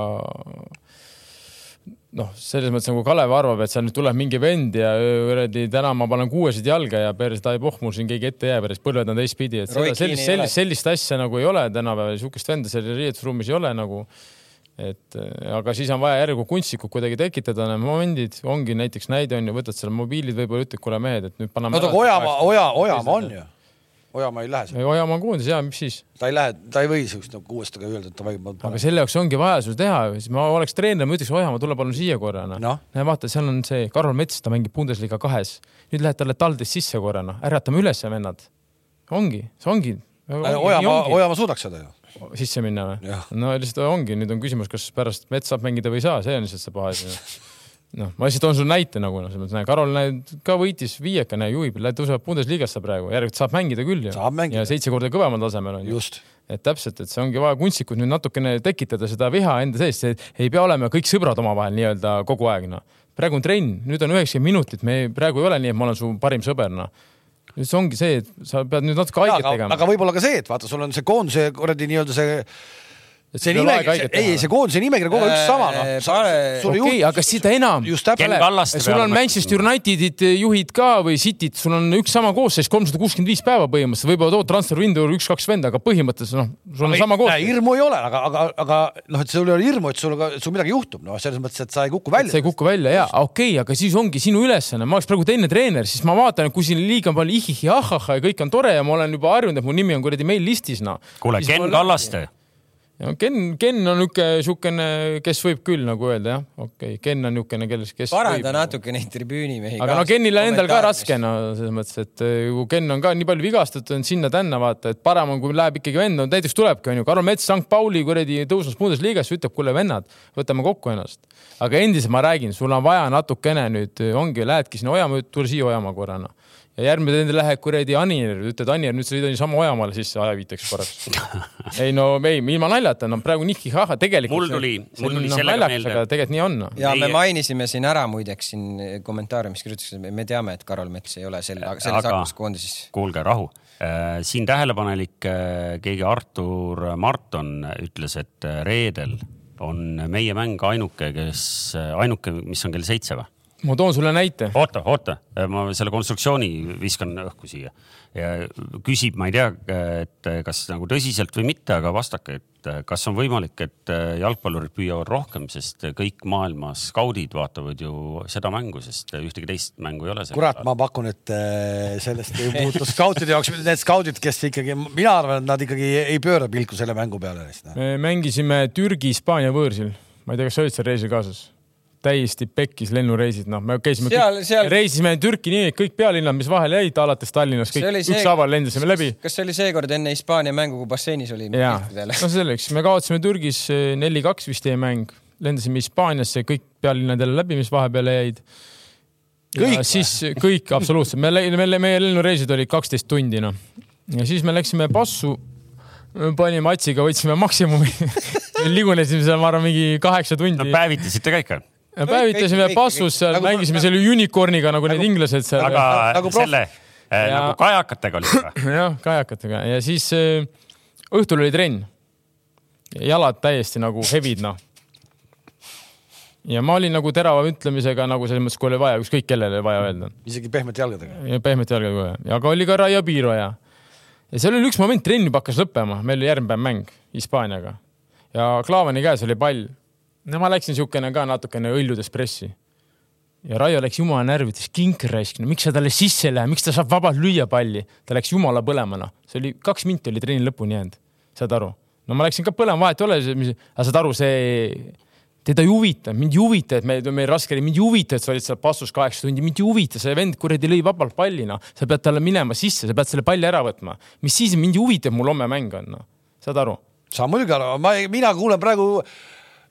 S3: noh , selles mõttes nagu Kalev arvab , et seal nüüd tuleb mingi vend ja kuradi täna ma panen kuuesid jalga ja päris ta ei pohmu siin keegi ette ei jää , päris põlved on teistpidi , et
S4: Roy
S3: seda,
S4: Keane
S3: sellist ,
S4: ei ole.
S3: sellist , sellist asja nagu ei ole tänapäeval , niisugust venda seal riietusruumis ei ole nagu et äh, aga siis on vaja järgu kunstlikult kuidagi tekitada need momendid , ongi näiteks näide on ju , võtad selle mobiilid , võib-olla ütled , kuule mehed , et nüüd paneme .
S1: no aga Ojamaa , Oja , Ojamaa on ju . Ojamaa ei lähe sinna ,
S3: Ojamaa on kuuendas ja mis siis ?
S1: ta ei lähe , ta ei või siukest nagu kuuest öelda , et davai , ma
S3: aga
S1: panen .
S3: selle jaoks ongi vaja sul teha , siis ma oleks treener , ma ütleks , Ojamaa , tule palun siia korra , noh
S1: Noh. .
S3: näe , vaata , seal on see Karol Mets , ta mängib Bundesliga kahes . nüüd lähed talle taldest sisse korra , noh , äratame üles , vennad . ongi , see ongi .
S1: Äh, Ojamaa , Ojamaa suudaks seda ju .
S3: sisse minna või
S1: Jah. ?
S3: no lihtsalt ongi , nüüd on küsimus , kas pärast Mets saab mängida või ei saa , see on lihtsalt see paha asi . noh , ma lihtsalt toon sulle näite nagu , noh , selles mõttes , näe , Karol näed ka võitis viieka , näe , juhib , läheb tõuseb Bundesliga-sse praegu , järelikult saab mängida küll ju .
S1: Saab mängida.
S3: ja seitse korda kõvemal tasemel on ju
S1: just .
S3: et täpselt , et see ongi vaja kunstlikult nüüd natukene tekitada seda viha enda sees , see ei pea olema kõik sõbrad omavahel nii-öelda kogu aeg noh . praegu on trenn , nüüd on üheksakümmend minutit , me ei, praegu ei ole nii , et ma olen su parim sõber noh . nüüd see ongi see , et sa pead nüüd natuke haiget
S1: aga ,
S3: tegema .
S1: aga võib-olla ka see , et vaata , sul on see koondise kuradi nii-öelda see , see nimekiri , ei , see koondise nimekiri kogu aeg üks sama , noh .
S4: Pare-
S1: sul ei
S3: okei ,
S1: juhtu ,
S3: aga seda enam .
S1: Just täpselt.
S2: Ken Kallaste
S3: sul
S2: peale
S3: on
S2: mõtlesin.
S3: Manchester Unitedid juhid ka või Cityt , sul on üks sama koosseis kolmsada kuuskümmend viis päeva põhimõtteliselt , võib-olla tood transfervindur üks-kaks venda , aga põhimõtteliselt noh , sul on sama koosseis .
S1: hirmu ei ole , aga , aga , aga noh , et sul ei ole hirmu , et sul ka , sul midagi juhtub , noh , selles mõttes , et sa ei kuku välja
S3: sa ei . kuku välja ja okei okay, , aga siis ongi sinu ülesanne , ma oleks praegu teine treener , siis ma vaatan , et kui siin liiga palju ihihi ahaha ja kõik on tore ja ma olen juba harjunud , et mu nimi on kuradi meil listis noh .
S2: kuule , Ken . Kallaste ,
S3: Ken , Ken on niuke , siukene , kes võib küll nagu öelda jah , okei okay. , Ken on niukene , kelles , kes . nagu-
S4: paranda natuke neid tribüünimehi .
S3: aga no Kenil on endal ka raske , no selles mõttes , et äh, kui Ken on ka nii palju vigastatud , on sinna-tänna vaata , et parem on , kui läheb ikkagi vend , no näiteks tulebki onju , Karol Mets , St Pauli kuradi tõusnud Bundesliga-sse , ütleb , kuule vennad , võtame kokku ennast . aga endiselt ma räägin , sul on vaja natukene nüüd äh, ongi , lähedki sinna Ojamaa , tule siia Ojamaa korra noh ja järgmine trend läheb kuradi Anier, ütled Anier, nüüd sa sõidad niisama Ojamaale sisse ajaviiteks korraks . ei no ei , ilma naljata , no praegu nihhi-haha , tegelikult .
S2: Mul tuli- mul tuli sellega meelde-
S3: noh, aga tegelikult nii on noh. no. .
S4: ja me
S2: Meie-
S4: mainisime siin ära muideks siin kommentaariumis kirjutatakse , me teame , et Karol Mets ei ole selle , selles
S2: Aga-
S4: hakkas koondises .
S2: kuulge , rahu . siin tähelepanelik äh, keegi Artur Marton ütles , et äh, reedel on meie mäng ainuke , kes , ainuke , mis on kell seitse või ?
S3: ma toon sulle näite .
S2: oota , oota , ma selle konstruktsiooni viskan õhku siia ja küsib , ma ei tea , et kas nagu tõsiselt või mitte , aga vastake , et äh, kas on võimalik , et äh, jalgpallurid püüavad rohkem , sest kõik maailma skaudid vaatavad ju seda mängu , sest ühtegi teist mängu ei ole .
S1: kurat , ma pakun , et äh, sellest ei muutu skautide jaoks , need skaudid , kes ikkagi , mina arvan , et nad ikkagi ei pööra pilku selle mängu peale neist . noh.
S3: me mängisime Türgi-Hispaania võõrsil , ma ei tea , kas sa olid seal reisil kaasas ? täiesti pekkis lennureisid , noh , me käisime
S4: Seal-
S3: kõik,
S4: seal-
S3: reisisime Türki nii , et kõik pealinnad , mis vahele jäid , alates Tallinnast ,
S4: See oli
S3: kõik
S4: see-
S3: ükshaaval lendasime läbi
S4: kas see oli seekord enne Hispaania mängu , kui basseinis oli ?
S3: ja no selleks , me kaotasime Türgis eh, neli-kaks vist jäi mäng , lendasime Hispaaniasse kõik pealinnad jälle läbi , mis vahepeale jäid .
S1: Kõik
S3: ja siis kõik absoluutselt , me läksime , meie lennureisid olid kaksteist tundi noh ja siis me läksime Passu , panime Atsiga , võtsime maksimumi , ligunesime seal , ma arvan , mingi kaheksa
S2: no
S3: tundi .
S2: päevitasite ka ikka
S3: päevitasime
S4: kõik- kõik-
S3: Passus seal ,
S1: nagu-
S3: mängisime selle unicorn'iga nagu need inglased seal .
S2: aga
S1: nagu
S2: nagu
S1: proff-
S2: selle ja...
S3: Ja-
S2: nagu kajakatega oli või ?
S3: jah , kajakatega ja siis äh, õhtul oli trenn . jalad täiesti nagu hevid , noh . ja ma olin nagu terava ütlemisega nagu selles mõttes , kui oli vaja , ükskõik kellele oli vaja öelda .
S1: isegi pehmete jalgadega .
S3: pehmete jalgadega kohe , aga oli ka Raia Piiroja . ja seal oli üks moment , trenn juba hakkas lõppema , meil oli järgmine päev mäng Hispaaniaga ja Klaavani käes oli pall . no ma läksin siukene ka natukene õljudes pressi ja Raio läks jumala närvi , ütles kink raisk , no miks sa talle sisse ei lähe , miks ta saab vabalt lüüa palli , ta läks jumala põlema noh , see oli kaks minti oli treeni lõpuni jäänud , saad aru . no ma läksin ka põlema , vahet ei ole , aga saad aru , see , teda ei huvita , mind ei huvita , et me , meil raske oli , mind ei huvita , et sa olid seal passus kaheksa tundi , mind ei huvita , see vend kuradi lõi vabalt palli noh , sa pead talle minema sisse , sa pead selle palli ära võtma , mis siis mind ei huvita , et mul homme mäng on noh , saad aru
S1: sa muidugi arvad , ma , mina kuulen praegu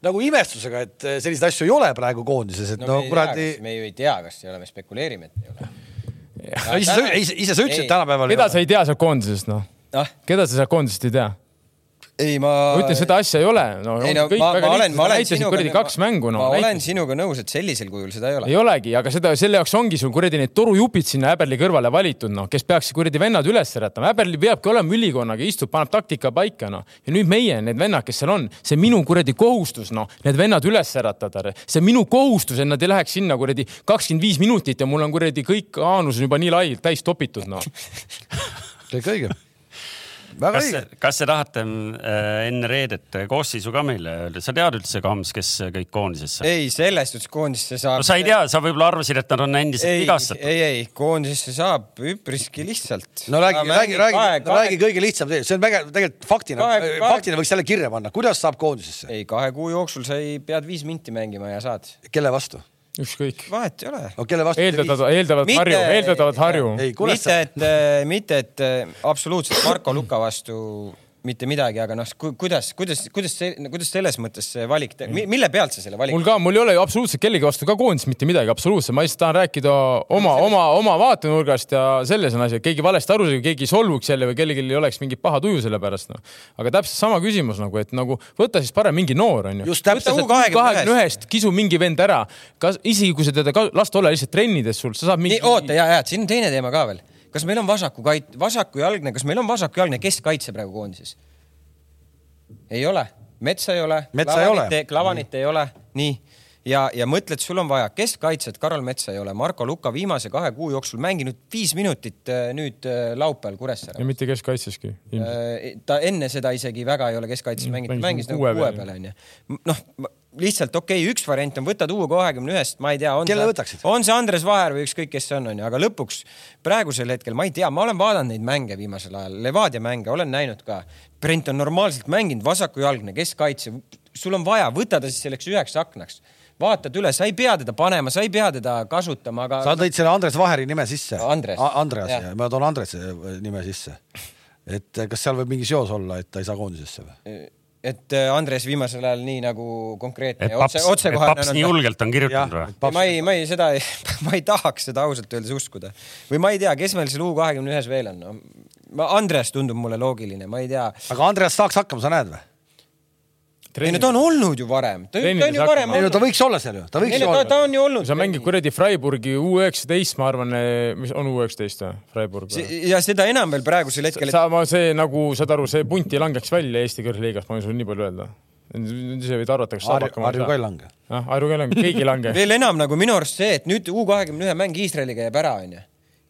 S1: nagu imestusega , et selliseid asju ei ole praegu koondises , et no, no kuradi .
S4: me ju ei tea , kas ei ole , me spekuleerime , et ei ole .
S1: no ise , ise , ise sa ütlesid , et tänapäeval .
S3: keda sa ei tea seal koondisest noh ,
S4: ah ,
S3: keda sa seal koondisest ei tea
S4: ei ma .
S3: ma ütlen , seda asja ei ole no, .
S4: ei no ma , ma olen , ma olen
S3: näitasid kuradi kaks mängu , no
S4: ma olen
S3: näitasid .
S4: sinuga nõus , et sellisel kujul seda ei ole
S3: ei . olegi , aga seda , selle jaoks ongi sul kuradi need torujupid sinna häberli kõrvale valitud , noh , kes peaks kuradi vennad üles äratama . häberli peabki olema ülikonnaga , istub , paneb taktika paika , noh . ja nüüd meie , need vennad , kes seal on , see on minu kuradi kohustus , noh , need vennad üles äratada . see on minu kohustus , et nad ei läheks sinna kuradi kakskümmend viis minutit ja mul on kuradi kõik aanus on juba nii lai , täis topitud , noh .
S1: kõik õige . väga
S2: kas
S1: õige .,
S2: kas te tahate äh, enne reedet koosseisu ka meile öelda , sa tead üldse , Kams , kes kõik koondisesse ?
S4: ei , selles suhtes koondisse saab
S2: no sa ei tea , sa võib-olla arvasid , et nad on endiselt
S4: ei ,
S2: vigastatud .
S4: ei , ei koondisesse saab üpriski lihtsalt .
S1: no räägi , räägi , räägi , räägi kõige lihtsam , see on väga tegelikult faktina
S4: Kahe- , kahe-
S1: faktina võiks selle kirja panna , kuidas saab koondisesse ,
S4: ei , kahe kuu jooksul sa ei , pead viis minti mängima ja saad .
S1: kelle vastu ?
S3: ükskõik .
S4: vahet ei ole .
S1: no kelle vastu ?
S3: eeldatavad , eeldavad
S4: Mitte-
S3: Harju , eeldatavad Harju .
S1: ei , kuidas
S4: mitte ,
S1: sa ,
S4: et , mitte , et äh, absoluutselt Marko Luka vastu mitte midagi , aga noh , kuidas , kuidas , kuidas see , kuidas selles mõttes see valik , mille pealt sa selle valiku
S3: mul ka , mul ei ole ju absoluutselt kellegi vastu ka koondis mitte midagi , absoluutselt , ma lihtsalt tahan rääkida oma , oma , oma vaatenurgast ja selles on asi , et keegi valesti aru saab , keegi ei solvuks jälle või kellelgi ei oleks mingit paha tuju selle pärast no. . aga täpselt sama küsimus nagu , et nagu võta siis parem mingi noor onju .
S1: Just täpselt,
S3: kahekümne ühest kisu mingi vend ära , kas isegi kui sa teda ka, las ta olla lihtsalt trennides sul , sa saad mingi
S4: nii , oota , ja , ja siin on teine teema ka veel . kas meil on vasakukait- , vasakujalgne , kas meil on vasakujalgne keskkaitse praegu koondises ? ei ole , metsa ei ole .
S1: Metsa ei ole.
S4: klavanit ei ole , nii . ja , ja mõtled , sul on vaja keskkaitset , Karol Metsa ei ole , Marko Luka viimase kahe kuu jooksul mänginud viis minutit äh, nüüd äh, laupäeval Kuressaares
S3: ja . mitte keskkaitseski .
S4: Äh, ta enne seda isegi väga ei ole
S2: Mm,
S4: keskkaitses mänginud , mängis
S3: mängis
S4: nagu
S3: kuue
S4: kuue
S3: peal,
S4: peal onju . noh , lihtsalt okei okay, , üks variant on võtta tuua kahekümne ühest , ma ei tea .
S1: Kelle võtaksid?
S4: on see Andres Vaher või ükskõik , kes see on , onju , aga lõpuks praegusel hetkel ma ei tea , ma olen vaadanud neid mänge viimasel ajal , Levadia mänge olen näinud ka . Brent on normaalselt mänginud , vasakujalgne , keskkaitse , sul on vaja , võta ta siis selleks üheks aknaks , vaatad üle , sa ei pea teda panema , sa ei pea teda kasutama , aga
S1: sa tõid selle Andres Vaheri nime sisse .
S4: Andres.
S1: Andres
S4: Jah. ,
S1: ma eh, toon Andrese nime sisse . et kas seal võib mingi seos olla , et ta ei saa koondisesse või ?
S4: et äh, Andres viimasel ajal nii nagu konkreetne
S2: et
S4: ja
S2: paps ,,
S4: otse
S2: et
S4: otsekohane
S2: paps nii julgelt on kirjutanud või ?
S4: Ei, ma ei , ma ei , seda ei , ma ei tahaks seda ausalt öeldes uskuda või ma ei tea , kes meil seal U kahekümne ühes veel on no, . ma , Andres tundub mulle loogiline , ma ei tea .
S1: aga Andreas saaks hakkama , sa näed või ?
S4: ei no ta on olnud ju varem , ta ta on
S3: Trennides
S4: ju varem
S3: hakkama.
S1: ei no
S4: olnud .
S1: ta võiks olla seal ju , ta võiks
S4: ei
S1: ju
S4: no ta , ta
S1: olla .
S4: on ju olnud
S3: sa . mängid kuradi Freiburgi U19 , ma arvan , mis on U19 või ? Freiburg või ?
S4: ja seda enam veel praegusel hetkel , et
S3: sa , ma see nagu saad aru , see punt ei langeks välja Eesti kõrgliigas , ma võin sulle nii palju öelda . nüüd ise võid arvata , kas saab
S1: Harju ,
S3: hakkama
S1: Harju ka ei . lange .
S3: jah , Harju ka ei lange , keegi ei lange .
S4: veel enam nagu minu arust see , et nüüd U kahekümne ühe mäng Iisraeliga jääb ära , onju .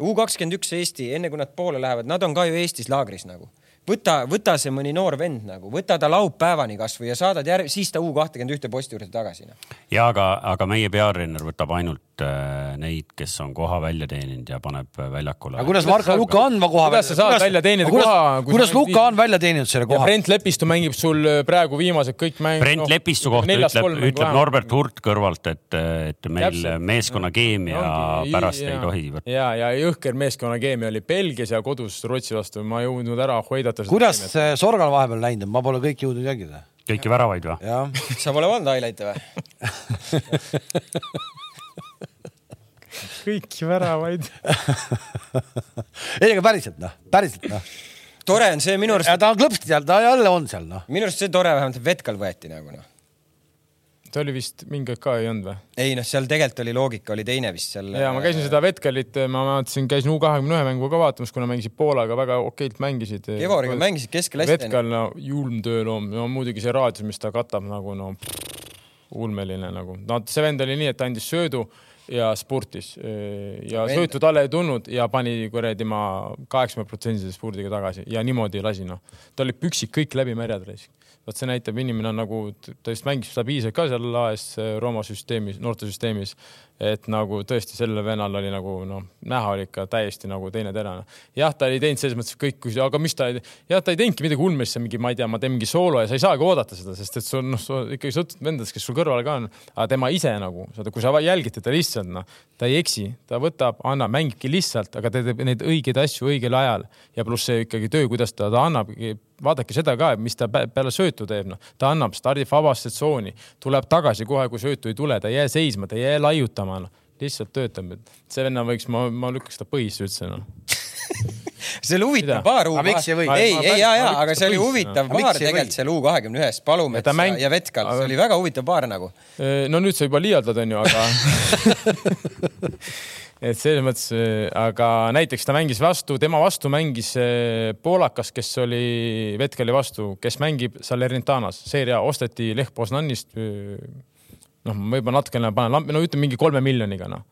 S4: U kakskümmend üks Eesti , enne kui nad poole lähevad , nad on ka ju Eestis laagris nagu . võta , võta see mõni noor vend nagu , võta ta laupäevani kasvõi ja saadad järg , siis ta U kahtekümmend ühte posti juurde tagasi noh.
S2: ja aga , aga meie peatreener võtab ainult äh, neid , kes on koha välja teeninud ja paneb väljakule
S1: aga . kuidas Marko
S3: saab-
S1: Luka Andma koha
S3: kuidas sa saad välja teenida
S1: kuidas,
S3: koha, kui
S1: kuidas
S3: sa mängid
S1: Luka
S3: nii-
S1: on välja teeninud selle
S3: ja
S1: koha ?
S3: Brent Lepistu mängib sul praegu viimased kõik mängud . noh,
S2: Brent Lepistu kohta ütleb , ütleb . Norbert Hurt kõrvalt , et , et meil
S3: Täpselt.
S2: meeskonna keemia pärast ei tohi .
S3: ja , ja jõhker meeskonnakeemia oli Belgias ja kodus Rootsi vastu , ma ei jõudnud ära hoidata .
S1: kuidas ? see Sorgal vahepeal läinud on , ma pole kõiki jõudnud jälgida .
S2: kõiki väravaid või ?
S1: jah ,
S4: sa pole olnud highlight'e või ?
S3: kõiki väravaid .
S1: ei aga päriselt noh , päriselt noh .
S4: tore on see minu arust ,
S1: ta on klõpsti seal , ta jälle on seal noh .
S4: minu arust see tore vähemalt , et Vetkal võeti nagu noh .
S3: ta oli vist mingi aeg ka ei olnud või ?
S4: ei noh , seal tegelikult oli loogika oli teine vist seal . äh,
S3: ja ma käisin seda Vetkalit , ma vaatasin , käisin U kahekümne ühe mängu ka vaatamas , kuna mängisid Poolaga , väga okeilt mängisid .
S4: Ivariga mängisid keskelastena .
S3: Vetkal , no julm tööloom , no muidugi see raadius , mis ta katab nagu no pff, ulmeline nagu , no see vend oli nii , et ta andis söödu ja spurtis ja
S4: Vend-
S3: söötu talle ei tulnud ja pani kuradi ma kaheksakümmend protsendise spurdiga tagasi ja niimoodi lasi noh , ta oli püksid kõik läbi märjad raisk vot see näitab , inimene on nagu , ta just mängis stabiilselt ka seal AS Rooma süsteemis , noortesüsteemis , et nagu tõesti sellel vennal oli nagu noh , näha oli ikka täiesti nagu teine terane . jah , ta ei teinud selles mõttes kõik , aga mis ta , jah , ta ei teinudki midagi ulmelisse , mingi , ma ei tea , ma teen mingi soolo ja sa ei saagi oodata seda , sest et sul noh , ikkagi sõltub vendadest , kes sul kõrval ka on , aga tema ise nagu , kui sa jälgid teda lihtsalt noh , ta ei eksi , ta võtab , annab , mängibki lihtsalt , aga ta teeb neid õigeid asju õigel ajal ja pluss see ikkagi töö , kuidas ta, ta annab vaadake seda ka , mis ta pä- peale söötu teeb , noh , ta annab , stardib vabasse tsooni , tuleb tagasi kohe , kui söötu ei tule , ta ei jää seisma , ta ei jää laiutama , noh , lihtsalt töötab , et see venna võiks , ma , ma lükkaks ta põhisse üldse , noh .
S4: see oli
S3: Mida?
S4: huvitav paar U
S1: Aga miks ei või?
S4: ei ,
S3: Ma-
S4: ei , ei ,
S3: ma-
S4: ja ,
S3: ma-
S4: ja ,
S3: ma-
S4: aga see oli
S3: ma-
S4: huvitav
S1: Aga
S4: paar
S1: miks ei või?
S4: tegelikult seal U kahekümne ühes , Palumets
S3: Ja
S4: ja,
S3: ta mäng-
S4: ja Vetkal , see
S3: aga-
S4: oli väga huvitav paar nagu .
S3: Äh, no nüüd sa juba liialdad , onju , aga et selles mõttes , aga näiteks ta mängis vastu , tema vastu mängis eh, poolakas , kes oli Vetkali vastu , kes mängib Salernitanas , seeria osteti Lech Poznanist . noh , ma juba natukene panen lampi , no ütleme mingi kolme miljoniga , noh .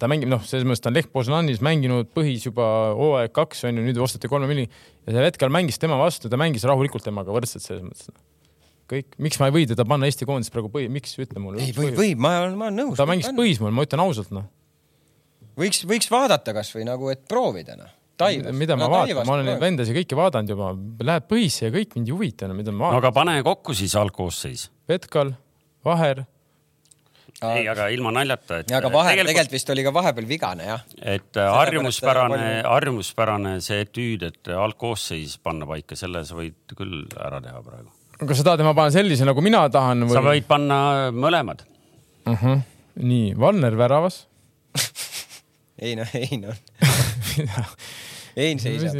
S3: ta mängib , noh , selles mõttes ta on Lech Poznanis mänginud põhis juba hooaeg kaks onju , nüüd osteti kolme miljoni ja see Vetkal mängis tema vastu , ta mängis rahulikult temaga võrdselt selles mõttes noh. kõik , miks ma ei või teda panna Eesti koondises praegu põhi , miks , ütle mulle .
S4: ei , võib , võib , ma olen , ma olen nõus .
S3: ta mängis . põhismaal , ma ütlen ausalt noh .
S4: võiks , võiks vaadata kasvõi nagu , et proovida noh .
S3: mida ma vaatan , ma olen neid vendasid kõiki vaadanud juba , läheb põhisse ja kõik mind ei huvita enam , mida ma
S2: no
S3: vaatan .
S2: aga pane kokku siis algkoosseis .
S3: Vetkal , Vaher ,
S2: ei , aga ilma naljata , et .
S4: ja aga vahe , tegelikult vist oli ka vahepeal vigane jah .
S2: et harjumuspärane , harjumuspärane see etüüd , et algkoosseis panna paika , selle sa võid küll ära teha praegu .
S3: kas sa tahad , et ma panen sellise nagu mina tahan
S2: sa
S3: või ?
S2: võid panna mõlemad .
S3: nii , Valner väravas .
S4: ei noh , ei noh . Ein seisab .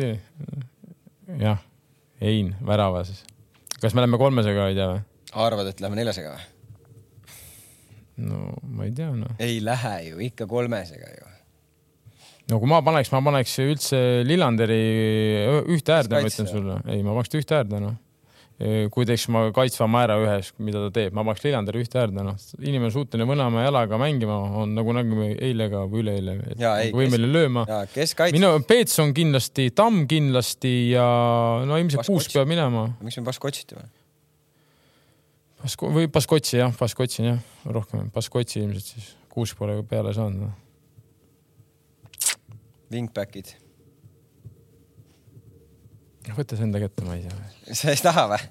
S3: jah , Ein väravas . kas me läheme kolmesega , ei tea või ?
S4: arvad , et lähme neljasega või ?
S3: no ma ei tea noh .
S4: ei lähe ju , ikka kolmesega ju .
S3: no kui nagu ma paneks , ma paneks üldse Lillanderi ühte äärde , ma ütlen
S4: kaitse-
S3: sulle , ei , ma paneks ta ühte äärde noh . kui teeks ma kaitsva määra ühes , mida ta teeb , ma paneks Lillanderi ühte äärde noh , inimene on suuteline mõlema jalaga mängima , on nagu nägime eile ka või üleeile ,
S4: Jaa, ei,
S3: võimeline lööma .
S4: ja kes
S3: Ah.
S4: kaitseb ?
S3: minu Peetson kindlasti , Tamm kindlasti ja no ilmselt
S4: Vaskots.
S3: Kuusk peab minema ,
S4: miks me Baskotit või ?
S3: või Baskotsi jah , Baskotsi jah , rohkem Baskotsi ilmselt siis , Kuusk pole peale saanud noh.
S4: Wingbackid .
S3: võta see enda kätte , ma ei tea ,
S4: sa ei taha või ?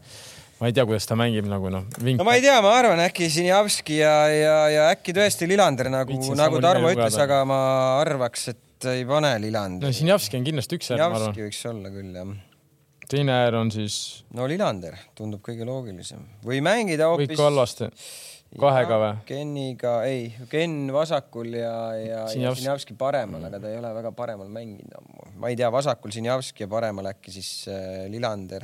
S3: ma ei tea , kuidas ta mängib nagu noh .
S4: no ma ei tea , ma arvan , äkki Sinjavski ja , ja , ja äkki tõesti Lillander nagu
S3: Viitsin ,
S4: nagu
S3: sama
S4: Tarmo
S3: nime
S4: ütles ,
S3: lugeda.
S4: aga ma arvaks , et ei pane Lillander
S3: no . Sinjavski on kindlasti üks äärm , ma arvan .
S4: Sinjavski võiks olla küll jah .
S3: teine äär on siis
S4: no Lillander tundub kõige loogilisem või mängida
S3: või
S4: hoopis .
S3: Kallaste , kahega või ?
S4: Geniga , ei , Gen vasakul ja , ja , ja
S3: Sinjavski.
S4: Sinjavski paremal , aga ta ei ole väga paremal mänginud ammu . ma ei tea , vasakul Sinjavski ja paremal äkki siis äh, Lillander .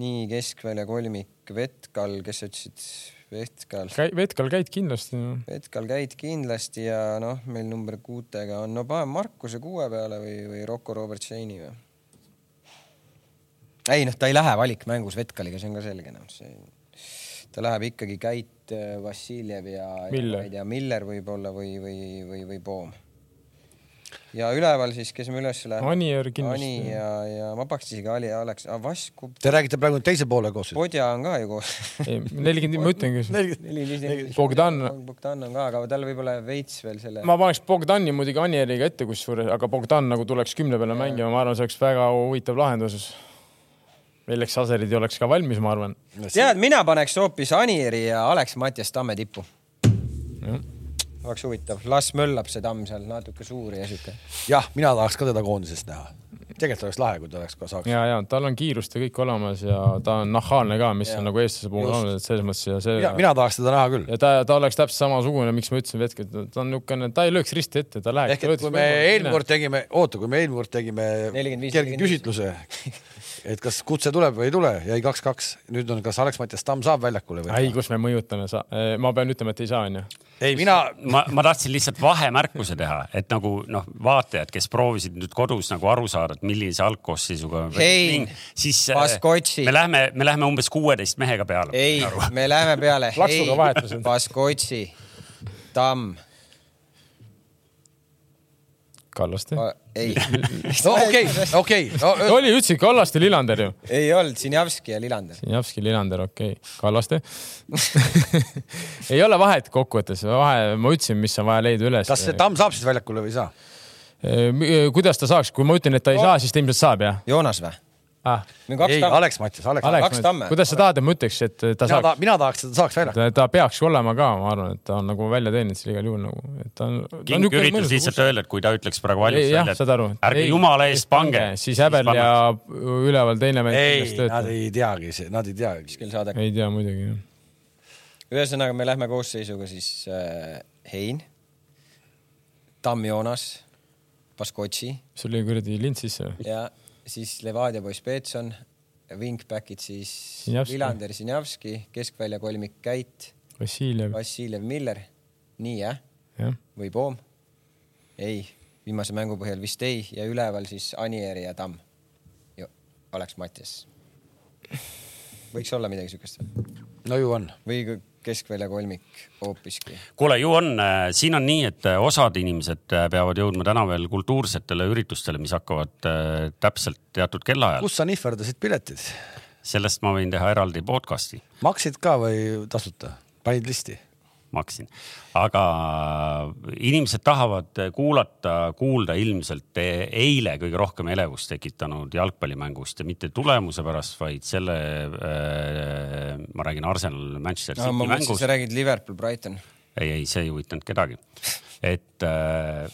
S4: nii keskvälja kolmik Vetkal , kes sa ütlesid , Vetkal .
S3: Vetkal käid kindlasti noh. no. .
S4: Vetkal käid kindlasti ja noh , meil number kuutega on , no paneme Markuse kuue peale või , või Rocco Robert Shane'i või ? ei noh , ta ei lähe valikmängus Vetkaliga , see on ka selge noh , see , ta läheb ikkagi Käit , Vassiljev ja , ja
S3: Miller.
S4: ma ei tea , Miller võib-olla või , või , või , või Poom . ja üleval siis , kes me üles läheme ?
S3: Anier kindlasti.
S4: Ani ja , ja ma pakuks isegi Ali , Aleks , Vask ,
S1: Te räägite praegu teise poole koos .
S4: Podja on ka ju koos .
S3: nelikümmend , ma ütlengi .
S4: neli , viis , neli .
S3: Bogdan.
S4: Bogdan on ka , aga tal võib-olla jääb veits veel selle .
S3: ma paneks Bogdani muidugi Anieriga ette kusjuures , aga Bogdan nagu tuleks kümne peale mängima , ma arvan , see oleks väga huvitav lahendus . milleks Aserid ei oleks ka valmis , ma arvan .
S4: tead , mina paneks hoopis Anieri ja Aleks Matjas Tamme tippu . oleks huvitav , las möllab see tamm seal natuke suur ja siuke .
S1: jah , mina tahaks ka teda koondises näha . tegelikult oleks lahe , kui ta oleks ka saaks .
S3: ja , ja tal on kiirust ja kõik olemas ja ta on nahaalne ka , mis ja. on nagu eestlase puhul
S1: Just.
S3: olnud , et selles mõttes ja see
S1: mina , mina tahaks teda näha küll .
S3: ja ta , ta oleks täpselt samasugune , miks ma ütlesin hetkel , ta on niisugune , ta ei lööks risti ette , ta läheks .
S1: ehk et kui me eelmine kord tegime , oota , kui me eelmine kord tegime
S4: 45,
S1: kerge küsitluse , et kas kutse tuleb või ei tule , jäi kaks-kaks . nüüd on , kas Aleks-Mattias Tamm saab väljakule või
S3: ei ,? kus me mõjutame , sa , ma pean ütlema , et ei saa , onju .
S1: ei , mina ,
S2: ma , ma tahtsin lihtsalt vahemärkuse teha , et nagu noh , vaatajad , kes proovisid nüüd kodus nagu aru saada , et millise algkoosseisuga .
S4: Hein,
S2: siis äh,
S4: Baskotsi.
S2: me lähme , me lähme umbes kuueteist mehega peale . Nagu.
S4: ei , me läheme peale .
S3: Laksuga vahetused.
S4: Baskotsi , Tamm ,
S3: Kallaste .
S4: ei ,
S1: no okei , okei .
S3: oli , ütlesid Kallaste , Lillander ju .
S4: ei olnud , Sinjavski ja Lillander .
S3: Sinjavski , Lillander , okei okay. , Kallaste . ei ole vahet kokkuvõttes , vahe , ma ütlesin , mis on vaja leida üles .
S1: kas see Tamm saab siis väljakule või ei saa ?
S3: kuidas ta saaks , kui ma ütlen , et ta ei saa , siis ta ilmselt saab jah
S4: Joonas või ?
S3: ah, ?
S4: meil on kaks
S1: ei ,
S4: Tamme .
S1: Aleks-Mattias , Aleks .
S3: Aleks
S4: kaks , tamme.
S3: kuidas sa tahad , et ma ütleks , et ta
S1: mina
S3: saaks ?
S1: ta- mina tahaks , et ta saaks väljakule .
S3: ta, ta peaks olema ka , ma arvan , et ta on nagu välja teeninud selle igal juhul nagu , et ta on .
S2: king üritas lihtsalt öelda , et kui ta ütleks praegu valmis
S3: Ei, jah,
S2: välja ,
S3: saad aru.
S2: et ärge
S3: Ei,
S2: jumala eest pange .
S3: siis häbel ja . üleval teine vend
S1: ei
S3: kindlasti ,
S1: nad
S3: töötab .
S1: ei teagi , nad ei teagi .
S4: kuskil saade .
S3: ei tea muidugi .
S4: ühesõnaga , me lähme koosseisuga siis äh, Hein , Tamm , Joonas , Baskotsi
S3: see oli kuradi lint sisse või ?
S4: ja siis Levadia poiss Peetson , wingback'id siis
S3: Sinjavski.
S4: Vilander , Sinjavski , keskvälja kolmik Käit ,
S3: Vassiljev ,
S4: Vassiljev , Miller . nii jah ,
S3: jah .
S4: või Poom ? ei , viimase mängu põhjal vist ei ja üleval siis Anieri ja Tamm . Aleks Matjas . võiks olla midagi siukest
S1: no ju on .
S4: või kõ- keskvälja kolmik hoopiski .
S2: kuule , ju on , siin on nii , et äh, osad inimesed äh, peavad jõudma täna veel kultuursetele üritustele , mis hakkavad äh, täpselt teatud kellaajal .
S1: kus sa nihverdasid piletid ?
S2: sellest ma võin teha eraldi podcast'i ,
S1: maksid ka või tasuta ? panid listi ?
S2: maksin . aga äh, inimesed tahavad äh, kuulata , kuulda ilmselt e- eile kõige rohkem elevust tekitanud jalgpallimängust ja mitte tulemuse pärast , vaid selle äh, , ma räägin Arsenal Manchester
S4: No,
S2: City
S4: ma mõtlesin ,
S2: mängust
S4: sa . räägid Liverpool , Brighton .
S2: ei , ei , see ei huvitanud kedagi . et äh,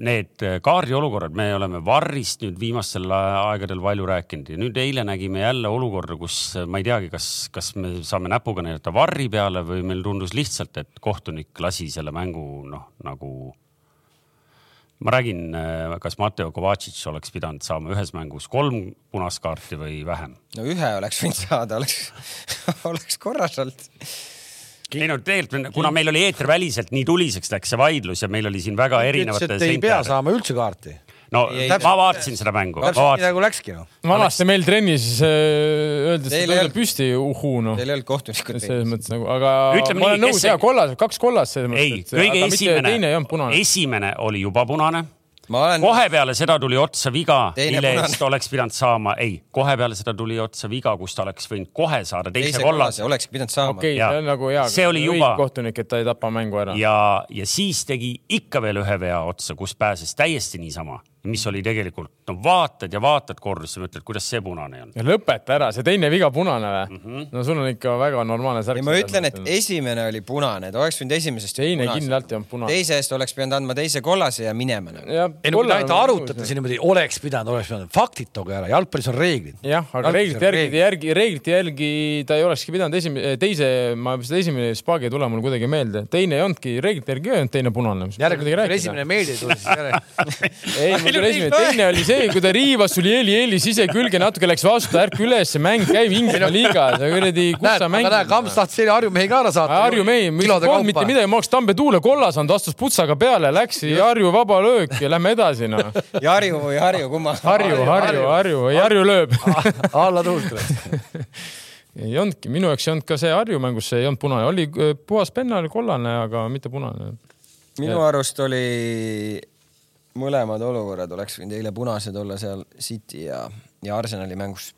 S2: need äh, kaardiolukorrad , me oleme varrist nüüd viimastel aegadel palju rääkinud ja nüüd eile nägime jälle olukorda , kus äh, ma ei teagi , kas , kas me saame näpuga näidata varri peale või meil tundus lihtsalt , et kohtunik lasi selle mängu noh , nagu ma räägin , kas Mateo Kovacic oleks pidanud saama ühes mängus kolm punast kaarti või vähem .
S4: no ühe oleks võinud saada , oleks , oleks korras olnud
S2: ei no tegelikult , kuna meil oli eeterväliselt nii tuliseks läks see vaidlus ja meil oli siin väga erinevate .
S1: ütles , et ei pea saama üldse kaarti .
S2: no
S4: Ei,
S2: ei,
S4: ei,
S2: ma vaatasin seda mängu , ma
S1: täpselt nii
S2: vaatasin ,
S1: nagu läkski noh .
S3: vanasti meil trennis äh, öeldi , et sa
S4: Teil ei
S3: tõuseb
S4: olnud-
S3: püsti , uhuu noh
S4: Teil ei olnud kohtunikud
S3: selles mõttes nagu , aga
S2: Ütleme
S3: ma
S2: nii,
S3: olen nõus
S2: kes see-
S3: ja kollased , kaks kollast selles
S2: ei ,
S3: mõttes .
S2: kõige
S3: teine
S2: esimene
S3: ei olnud , punane .
S2: esimene oli juba punane .
S4: ma olen ,
S2: kohe peale seda tuli otsa viga ,
S4: Teine
S2: mille
S4: punane.
S2: eest oleks pidanud saama , ei , kohe peale seda tuli otsa viga , kus ta oleks võinud kohe saada teise
S4: teise
S2: kollase
S4: kollase oleks pidanud saama okay. .
S3: okei ,
S2: Jaa.
S3: see on nagu hea .
S2: See oli juba-
S3: kohtunik , et ta ei tapa mängu ära .
S2: ja , ja siis tegi ikka veel ühe vea otsa , kus pääses täiesti niisama mis oli tegelikult , no vaatad ja vaatad kordusse , mõtled , kuidas see punane ei olnud .
S3: ja lõpeta ära , see teine viga punane või mm ?
S2: Mhm.
S3: -hmm. no sul on ikka väga normaalne särk .
S4: ei , ma ütlen , et esimene oli punane , ta oleks võinud esimesest .
S3: Teine kindlalt ei olnud punane.
S4: teise eest oleks pidanud andma teise kollase ja minema nagu .
S1: ei no kui te ainult arutate . siin niimoodi , oleks pidanud , oleks pidanud , faktid tooge ära , jalgpallis on reeglid .
S3: jah , aga reeglite järgi , järgi , reeglite järgi ta ei olekski pidanud esimene , teise , ma seda esimene spaagi ei tule mul kuidagi meelde , teine ei olnudki , reeglite järgi ei olnud teine punane .
S1: järgmine , kui esimene meelde ei tule , siis järg-
S3: ei , mul tuli esimene , teine oli see , kui ta riivas sul jeli-jeli sisekülge , natuke läks vastu , ärka üles , mäng käib Inglismaa liiga , sa kuradi , kus
S1: näed ,
S3: sa
S1: aga
S3: mängid ?
S1: näed , Kamps tahtis eile Harju mehi ka ära saata .
S3: Harju mehi , mitte . midagi , ma oleks Tambe tuule kollas olnud , astus putsaga peale , läks Harju vaba löök ja lähme edasi noh .
S4: Jarju või Harju , kumma ?
S3: Harju , Harju , Harju , Harju lööb .
S1: alla tuult .
S3: ei olnudki , minu jaoks ei olnud ka see Harju mängus , see ei olnud punane , oli öö, puhas penna oli kollane , aga mitte punane .
S4: minu arust oli , mõlemad olukorrad oleks võinud eile punased olla seal City ja , ja Arsenali mängus .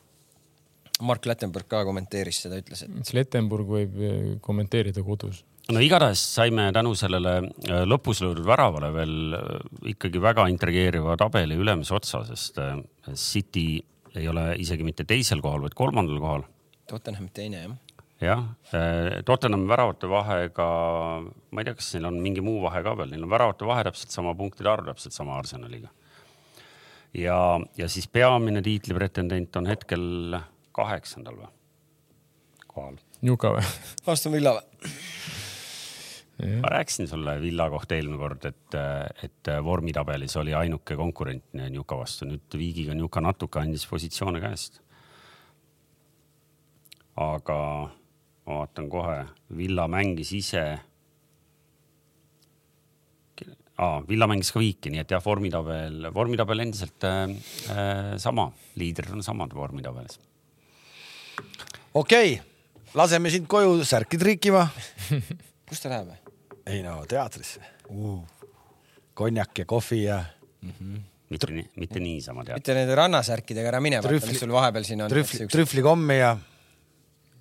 S4: Mark Lätenberg ka kommenteeris seda , ütles , et
S3: Slettenburg võib öö, kommenteerida kodus .
S2: no igatahes saime tänu sellele äh, lõpus löödud väravale veel äh, ikkagi väga intrigeeriva tabeli ülemise otsa , sest äh, City ei ole isegi mitte teisel kohal , vaid kolmandal kohal .
S4: Tottenham teine jah .
S2: jah , Tottenhami väravate vahega , ma ei tea , kas neil on mingi muu vahe ka veel , neil on väravate vahe täpselt sama , punktide arv täpselt sama Arsenaliga . ja , ja siis peamine tiitlipretendent on hetkel kaheksandal või ? kohal .
S3: Njuka või ?
S4: Aston Villa või ?
S2: ma rääkisin sulle Villa kohta eelmine kord , et , et vormitabelis oli ainuke konkurent Njuka vastu , nüüd Viigiga Njuka natuke andis positsioone käest . aga ma vaatan kohe , Villa mängis ise . Ah, Villa mängis ka viiki , nii et jah , vormitabel , vormitabel endiselt äh, äh, sama , liidrid on samad vormitabelis .
S1: okei , laseme sind koju särki triikima .
S4: kus ta läheb või ?
S1: ei no teatrisse uh. . konjak ja kohvi ja
S2: mitte , mitte niisama tead .
S4: mitte nende rannasärkidega ära mine , vaata
S1: Trühvli-
S4: mis sul vahepeal siin on .
S1: trühvli , trühvlikommi ja ,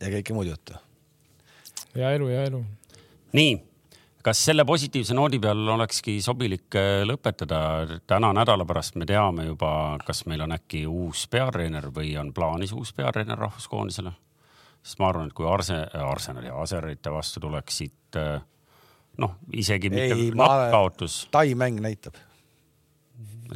S1: ja kõike muud juttu .
S3: hea elu , hea elu
S2: nii , kas selle positiivse noodi peal olekski sobilik äh, lõpetada ? täna nädala pärast me teame juba , kas meil on äkki uus peatreener või on plaanis uus peatreener rahvuskoondisele . sest ma arvan , et kui Arse- , Arsenali ja Aserite vastu tuleksid äh, noh , isegi mitte
S1: ei , ma
S2: nappkaotus ,,
S1: tai mäng näitab .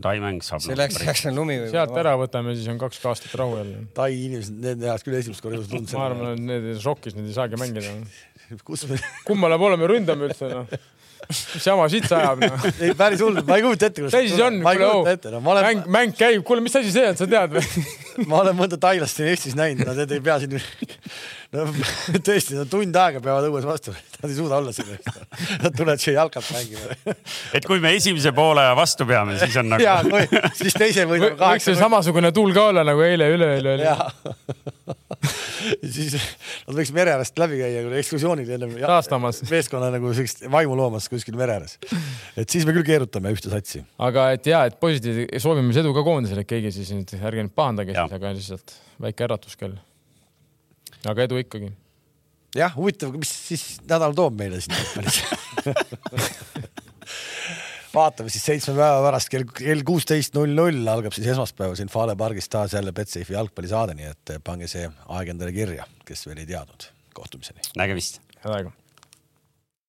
S2: taimäng saab . nagu
S4: selleks läks on lumi
S3: sealt
S4: või ?
S3: ära võtame , siis on kaks aastat rahu jälle .
S1: tai inimesed , nende jaoks küll esimest korda elus tundsin .
S3: ma arvan , et need šokis need ei saagi mängida .
S1: et kus me ,
S3: kummale poole me ründame üldse noh ? mis jama siit ajab noh ?
S1: ei päris hull , ma ei kujuta ette ,
S3: mis asi see on ,
S1: ma ei kujuta ette , no ma
S3: kuule , mäng
S1: olen ,,
S3: mäng käib , kuule , mis asi see on , sa tead või ?
S1: ma olen mõnda tailast siin Eestis näinud , nad ei pea siin , no tõesti , nad tund aega peavad õues vastu , nad ei suuda olla siin , nad tulevad siia jalkat mängima .
S2: et kui me esimese poole vastu peame , siis on
S1: ja
S2: nagu ,
S1: siis teise võidame
S3: võiks see
S1: kaheksa .
S3: samasugune tuul ka olla nagu eile ja üleeile oli .
S1: ja siis nad võiks mere äärest läbi käia kui ekskursioonil ennem ja-
S3: Taastamas.
S1: meeskonna nagu sellist vaimu loomas kuskil mere ääres . et siis me küll keerutame ühte satsi .
S3: aga et ja , et positiivne , soovime siis edu ka koondisele , et keegi siis nüüd , ärge nüüd pahandage
S2: Jah.
S3: siis , aga lihtsalt väike äratus kell . aga edu ikkagi .
S1: jah , huvitav , mis siis nädal toob meile siin jalgpallis vaatame siis seitsme päeva pärast kell , kell kuusteist null null algab siis esmaspäev siin Fale pargis taas jälle Betsafe'i jalgpallisaade , nii et pange see aeg endale kirja , kes veel ei teadnud . kohtumiseni .
S2: nägemist
S3: head aega